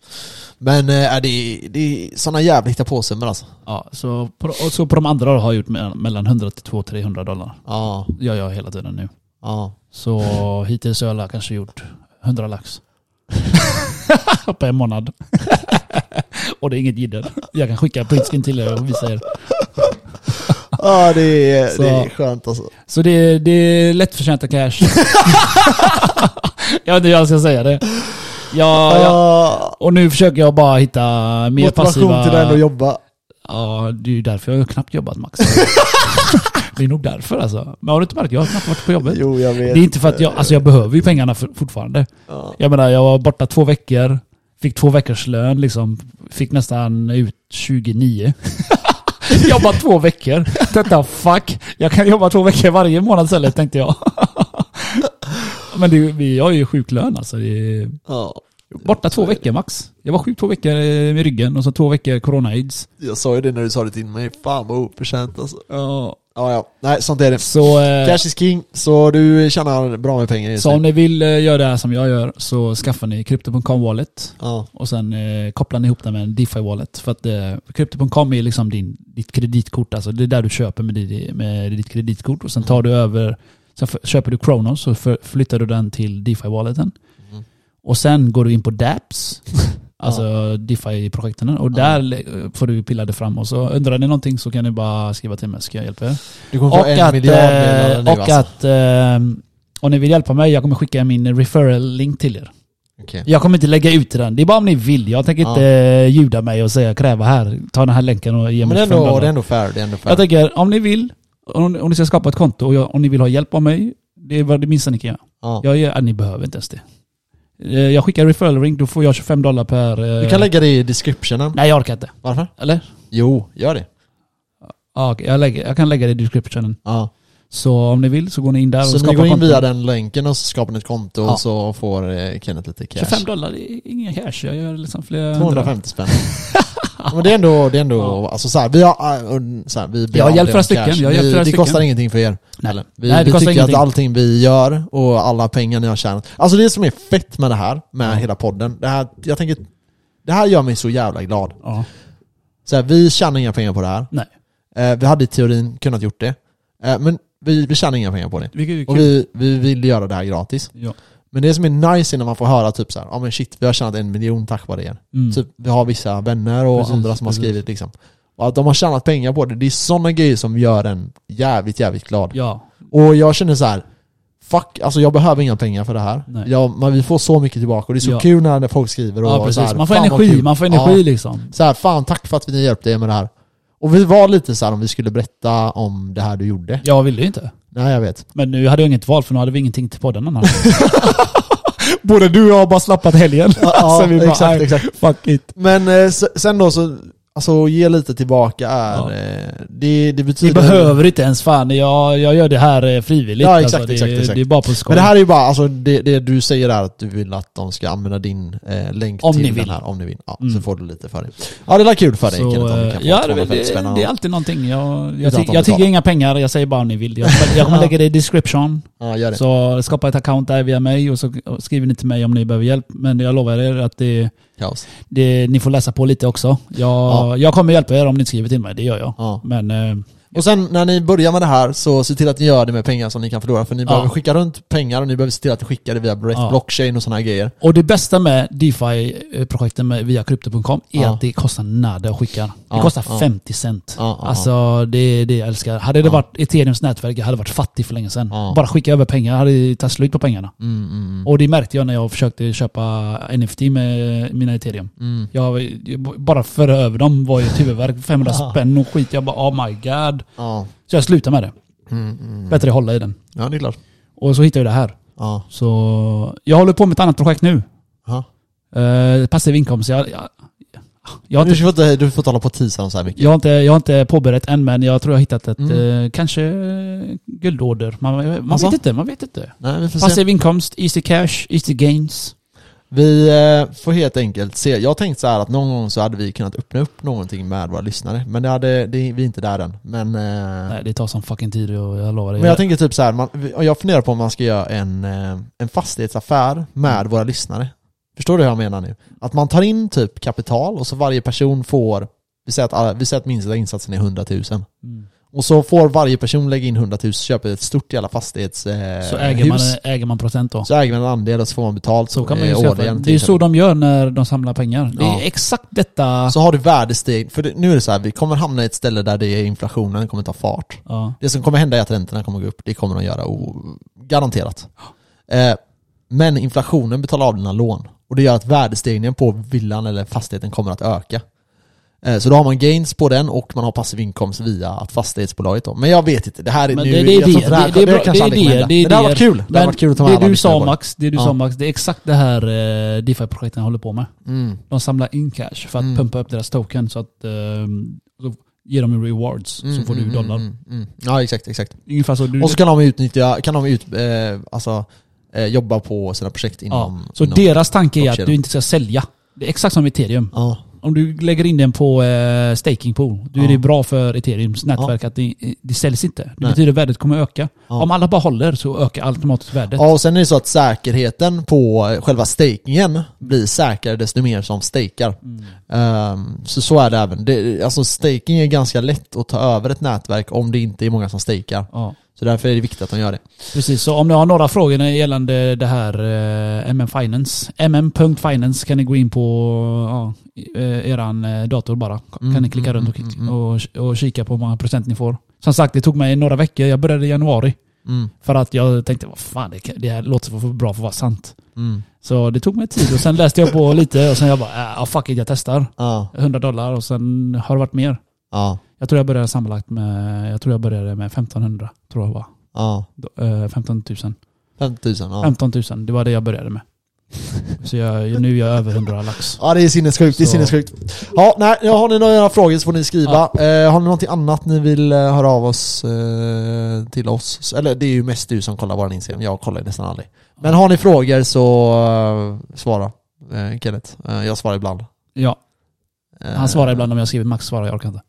S2: Men eh, är det, det är sådana jävla hittapåsummor alltså.
S3: ja, så, på, och så på de andra har jag gjort me- mellan 100 till 200-300 dollar.
S2: Ja,
S3: Gör jag hela tiden nu.
S2: ja.
S3: Så hittills har jag kanske gjort
S2: *laughs*
S3: 100 lax. På en månad. och det är inget jidder. Jag kan skicka printskin till er och visa er.
S2: Ja, det är,
S3: Så-
S2: det är skönt alltså.
S3: Så det är, det är
S2: *laughs*
S3: lättförtjänta cash. jag vet inte hur jag ska säga det. Ja, ja.
S2: Ja,
S3: Och nu försöker jag bara hitta mer
S2: Ah, motivation
S3: passiva...
S2: till det ändå att jobba.
S3: Ja, det är ju därför jag har knappt
S2: *laughs*
S3: jobbat Max. det är nog därför alltså. Men har du inte märkt? Jag har knappt varit på jobbet.
S2: Jo, jag vet.
S3: Det är inte för att jag, alltså jag behöver ju pengarna för, fortfarande.
S2: Ja.
S3: Jag menar, jag var borta två veckor, fick två veckors lön liksom. Fick nästan ut 29. *laughs* jobba två veckor. Tänkte fuck, jag kan jobba två veckor varje månad istället *laughs* tänkte jag. Men det, vi har ju sjuklön alltså. Det,
S2: Ja.
S3: Borta två veckor max. Jag var sjuk två veckor eh, med ryggen och så två veckor corona-aids.
S2: Jag sa ju det när du sa det till mig, fan vad oförtjänt alltså.
S3: Ja.
S2: Ja, ja. Nej, sånt är det.
S3: Så, eh,
S2: Cash is king, så du tjänar bra med pengar just
S3: så om
S2: nu.
S3: ni vill eh, göra det här som jag gör så skaffar ni Crypto.com Wallet
S2: Ja,
S3: och sen eh, kopplar ni ihop den med en DeFi Wallet. För att eh, Crypto.com är liksom din, ditt kreditkort, alltså det är där du köper med, di- med ditt kreditkort och sen tar
S2: Mm.
S3: du över, sen för, köper du Kronos så för, flyttar du den till DeFi Walleten.
S2: Mm.
S3: Och sen går du in
S2: *laughs*
S3: på DApps, alltså DeFi-projekten och
S2: Ja.
S3: där le- får du pilla det fram och så undrar ni någonting så kan ni bara skriva till mig så ska jag hjälpa er.
S2: du kommer få
S3: Och
S2: en
S3: att,
S2: miljard
S3: eh,
S2: meddelanden nu
S3: och
S2: alltså.
S3: att eh, om ni vill hjälpa mig, jag kommer skicka min referral-link till er.
S2: Okej.
S3: Jag kommer inte lägga ut den, det är bara om ni vill. Jag tänker
S2: Ja.
S3: inte eh, ljuda mig och säga kräva här, ta den här länken och ge
S2: Men det
S3: mig
S2: är,
S3: fem
S2: ändå, det är
S3: dollar.
S2: ändå fair, det är ändå fair.
S3: Jag tänker, om ni vill, om, om ni ska skapa ett konto och jag, om ni vill ha hjälp av mig, det är vad det minsta ni kan göra.
S2: ja.
S3: Jag gör, ja, ni behöver inte ens det. Eh, Jag skickar referral link, då får jag 25 dollar per... eh,
S2: Du kan lägga det i descriptionen.
S3: Nej, jag orkar inte.
S2: Varför?
S3: Eller?
S2: Jo, gör det.
S3: Ja, okej, jag, lägger, jag kan lägga det i descriptionen.
S2: Ja.
S3: Så om ni vill så går ni in där och
S2: Så
S3: skapar
S2: ni går in
S3: konto.
S2: via den länken och så skapar ni ett konto
S3: Ja.
S2: och så får eh, Kenneth lite cash.
S3: 25 dollar, det är ingen cash. Jag gör liksom flera...
S2: 250 spänn.
S3: *laughs*
S2: Ja, Men det är ändå, det är ändå, alltså så här, vi har, äh, und- så här, vi ber
S3: Jag har
S2: aldrig
S3: hjälpt
S2: om
S3: flera stycken,
S2: cash.
S3: jag har
S2: Vi-
S3: hjälpt flera
S2: Det
S3: stycken.
S2: kostar ingenting för er.
S3: Nej.
S2: Eller, vi,
S3: Nej, det
S2: vi
S3: kostar
S2: tycker
S3: ingenting.
S2: att allting vi gör och alla pengar ni har tjänat, alltså det som är fett med det här, med hela podden, det här, jag tänker, det här gör mig så jävla glad.
S3: Ja.
S2: Så här, vi tjänar inga pengar på det här.
S3: Nej.
S2: Eh, vi hade i teorin kunnat gjort det, eh, men vi, vi tjänar inga pengar på det.
S3: Vilket är
S2: Och
S3: kul.
S2: vi, vi vill göra det här gratis.
S3: Ja.
S2: Men det som är nice är när man får höra typ så här, ja men shit, vi har tjänat en miljon tack vare er.
S3: Mm.
S2: Typ, vi har vissa vänner och
S3: Precis,
S2: andra som har
S3: precis.
S2: skrivit liksom. Och att de har tjänat pengar på det, det är sådana grejer som gör en jävligt, jävligt glad.
S3: Ja.
S2: Och jag känner så här. Fuck, alltså jag behöver inga pengar för det här.
S3: Nej.
S2: Jag, men vi får så mycket tillbaka och det är så
S3: Ja.
S2: kul när folk skriver och
S3: ja,
S2: så
S3: precis.
S2: här,
S3: Man får
S2: fan vad
S3: energi,
S2: kul.
S3: man får energi
S2: Ja.
S3: liksom.
S2: Så här, fan tack för att ni hjälpte er med det här. Och vi var lite så här om vi skulle berätta om det här du gjorde.
S3: Jag ville ju inte.
S2: Nej jag vet.
S3: Men nu hade jag inget val för nu hade vi ingenting till podden annars. Både du och jag har bara slappat helgen.
S2: Ja,
S3: Så vi bara,
S2: exakt,
S3: nej,
S2: exakt.
S3: Fuck it.
S2: Men eh, s- sen då så, alltså ge lite tillbaka är,
S3: Ja.
S2: eh, det, det
S3: Vi
S2: betyder...
S3: behöver inte ens fan, jag, jag gör det här eh, frivilligt.
S2: Ja, exakt,
S3: det,
S2: exakt, exakt.
S3: det är bara på skoj.
S2: Men det här är ju bara, alltså det, det du säger är att du vill att de ska använda din eh, länk
S3: Om
S2: till
S3: ni
S2: den
S3: vill.
S2: här om ni vill. Ja,
S3: Mm.
S2: Så får du lite för det. Ja det är kul för dig
S3: Så,
S2: Kenneth om du kan
S3: eh,
S2: få
S3: ja, det,
S2: 250
S3: det,
S2: spänn.
S3: det är alltid någonting. Jag, jag,
S2: Utan att
S3: jag,
S2: de
S3: jag tigger
S2: betalar.
S3: inga pengar, jag säger bara om ni vill. Jag, jag kommer lägga det i description.
S2: Ja gör det.
S3: Så skapa ett account där via mig och så skriver ni till mig om ni behöver hjälp. Men jag lovar er att det,
S2: Kaos.
S3: det, ni får läsa på lite också. Jag,
S2: Ja.
S3: jag kommer hjälpa er om ni skriver till mig, det gör jag.
S2: Ja.
S3: Men eh,
S2: Och sen när ni börjar med det här så se till att ni gör det med pengar som ni kan förlora för ni behöver skicka runt pengar och ni behöver se till att ni skickar det via rätt
S3: Ja.
S2: blockchain och sådana här grejer.
S3: Och det bästa med DeFi-projekten med, via krypto.com är
S2: Ja.
S3: att det kostar nada att skicka. Det
S2: Ja,
S3: kostar
S2: ja.
S3: 50 cent.
S2: Ja, ja,
S3: alltså det är det jag älskar. Hade det
S2: Ja.
S3: varit Ethereums nätverk, jag hade varit fattig för länge sedan.
S2: Ja.
S3: Bara skicka över pengar, jag hade tagit slut på pengarna.
S2: Mm, mm,
S3: Och det märkte jag när jag försökte köpa NFT med mina Ethereum.
S2: mm.
S3: Jag, jag- bara föra över dem var ju ett huvudvärk, 500
S2: Ja.
S3: spänn och skit. Jag bara oh my god.
S2: Ja.
S3: Så jag slutade med det.
S2: Mm, mm.
S3: Bättre att hålla i den.
S2: ja det är klart.
S3: Och så hittade jag det här.
S2: Ja.
S3: Så jag håller på med ett annat projekt nu.
S2: Ja.
S3: Eh, passiv inkomst. Jag, jag, jag, har
S2: Du
S3: inte,
S2: får inte, du får inte hålla på och teasa dem så här mycket.
S3: jag, har inte, jag har inte påbörjat än men jag tror jag har hittat ett,
S2: Mm.
S3: eh, kanske eh, guldorder. Man, man
S2: Alltså?
S3: vet inte, man vet inte.
S2: Nej, vi får se.
S3: Passiv inkomst, easy cash, easy gains.
S2: Vi eh, får helt enkelt se. Jag tänkte så här att någon gång så hade vi kunnat öppna upp någonting med våra lyssnare. Men det hade, det, vi är inte där än. Men, eh,
S3: Nej det tar sån fucking tid och jag lovar dig.
S2: men jag tänker typ så här, man, vi- och jag funderar på om man ska göra en, eh, en fastighetsaffär med våra lyssnare. Förstår du hur jag menar nu? Att man tar in typ kapital och så varje person får, vi säger att, alla- vi säger att minsta insatsen är 100 000.
S3: Mm.
S2: Och så får varje person lägga in 100 000 köper ett stort jävla fastighetshus. Eh,
S3: Så äger man,
S2: hus.
S3: äger man procent då.
S2: så äger man en andel och så får man betalt
S3: Så kan man ju
S2: eh,
S3: säga.
S2: årligen,
S3: för-
S2: till
S3: Det är
S2: exempel.
S3: så de gör när de samlar pengar. Det
S2: Ja.
S3: är exakt detta.
S2: Så har du värdesteg, för det, nu är det så här, vi kommer hamna i ett ställe där det är inflationen kommer ta fart.
S3: Ja.
S2: Det som kommer hända är att räntorna kommer gå upp, det kommer de göra o, garanterat. Eh, men inflationen betalar av dina lån och det gör att värdestegningen på villan eller fastigheten kommer att öka. Eh, så då har man gains på den och man har passiv inkomst via att fastighetsbolaget då. Men jag vet inte, det här är
S3: Men
S2: nu...
S3: det, det är
S2: jag tror
S3: det,
S2: inte här-
S3: det, det, är bra- det,
S2: kanske
S3: är
S2: aldrig kommer
S3: det,
S2: hända.
S3: det är
S2: Men det hade varit kul. Det hade varit kul att ta med
S3: det
S2: alla
S3: du
S2: lyssnare på
S3: sa
S2: det.
S3: Max, det du
S2: Ja.
S3: sa Max, det är exakt det här eh, DeFi-projekten håller på med.
S2: Mm.
S3: De samlar in cash för att
S2: Mm.
S3: pumpa upp deras token så att eh, så ger dem rewards så
S2: Mm,
S3: får du
S2: mm,
S3: dollar.
S2: Mm, mm. Ja exakt, exakt.
S3: Ungefär så. Du,
S2: Och så kan de utnyttja, kan de ut, eh, alltså eh, jobbar på sina projekt inom...
S3: ja. Så
S2: inom,
S3: deras tanke är att
S2: blockkedjan.
S3: du inte ska sälja. Det är exakt som ethereum.
S2: Ja,
S3: Om du lägger in den på eh, staking pool, då är
S2: Ja.
S3: det bra för ethereums nätverk att det, eh, det säljs inte. Det
S2: Nej.
S3: betyder att värdet kommer öka.
S2: Ja.
S3: Om alla bara håller så ökar automatiskt värdet.
S2: Ja, och sen är det så att säkerheten på själva stakingen blir säkrare desto mer som stakar.
S3: Mm.
S2: Ehm, så så är det även. Det, alltså staking är ganska lätt att ta över ett nätverk om det inte är många som stakar.
S3: Ja.
S2: Så därför är det viktigt att de gör det.
S3: Precis, så om ni har några frågor när- gällande det här eh, MM Finance, mm.finance kan ni gå in på ja, eh, eran eh, dator bara. Kan
S2: Mm,
S3: ni klicka
S2: mm,
S3: runt och,
S2: mm,
S3: kik- och, och kika på hur många procent ni får. Som sagt, det tog mig några veckor. Jag började i januari.
S2: Mm,
S3: För att jag tänkte, vad fan, det, kan- det här låter för för bra för att vara sant.
S2: mm.
S3: Så det tog mig tid och sen läste jag på lite och sen jag bara, ah fuck it, jag testar.
S2: Ja,
S3: 100 dollar och sen har det varit mer.
S2: ja,
S3: Jag tror jag började sammanlagt med, jag tror jag började med 1500, tror jag var.
S2: ja.
S3: Då- eh, 15 000.
S2: 5000, ja.
S3: 15 000, det var det jag började med. Så jag, nu är jag över 100 lax.
S2: Ja det är sinnessjukt, det är
S3: Så.
S2: sinnessjukt. Ja, nej, ja, har ni några frågor så får ni skriva. Eh, har ni någonting annat ni vill eh, höra av oss eh, till oss? Så- Eller det är ju mest du som kollar vår Instagram, jag kollar ju nästan aldrig. Men har ni frågor så eh, svara eh, Kenneth. Eh, jag svarar ibland.
S3: Ja,
S2: Eh,
S3: han svarar ibland om jag skriver Max svarar, jag orkar inte.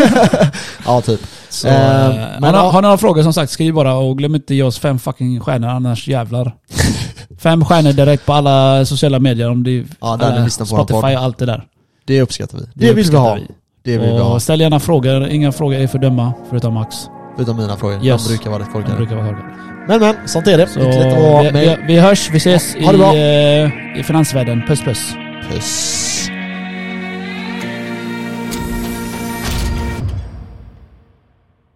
S2: *laughs* ja typ.
S3: Så,
S2: Eh,
S3: eh,
S2: men
S3: har,
S2: ja.
S3: har ni några frågor som sagt, skriv bara och glöm inte ge oss fem fucking stjärnor
S2: *laughs*
S3: annars jävlar. fem stjärnor direkt på alla sociala medier om det
S2: Ja, där
S3: alla
S2: ni lyssnar på vår
S3: Eh, Spotify
S2: podd.
S3: och allt det där.
S2: Det uppskattar vi. Det, vill vi ha.
S3: uppskattar
S2: Det vill vi ha.
S3: Och ställ gärna frågor, inga frågor är för dumma förutom Max.
S2: Utom mina frågor.
S3: Yes.
S2: De brukar vara rätt
S3: Han
S2: korkade.
S3: brukar vara korkad.
S2: Men men, sånt är det.
S3: Så eh,
S2: Lyckligt att vara
S3: vi, vi,
S2: med.
S3: vi hörs, vi ses i,
S2: Ha det bra.
S3: eh, i finansvärlden. Puss puss.
S2: Puss.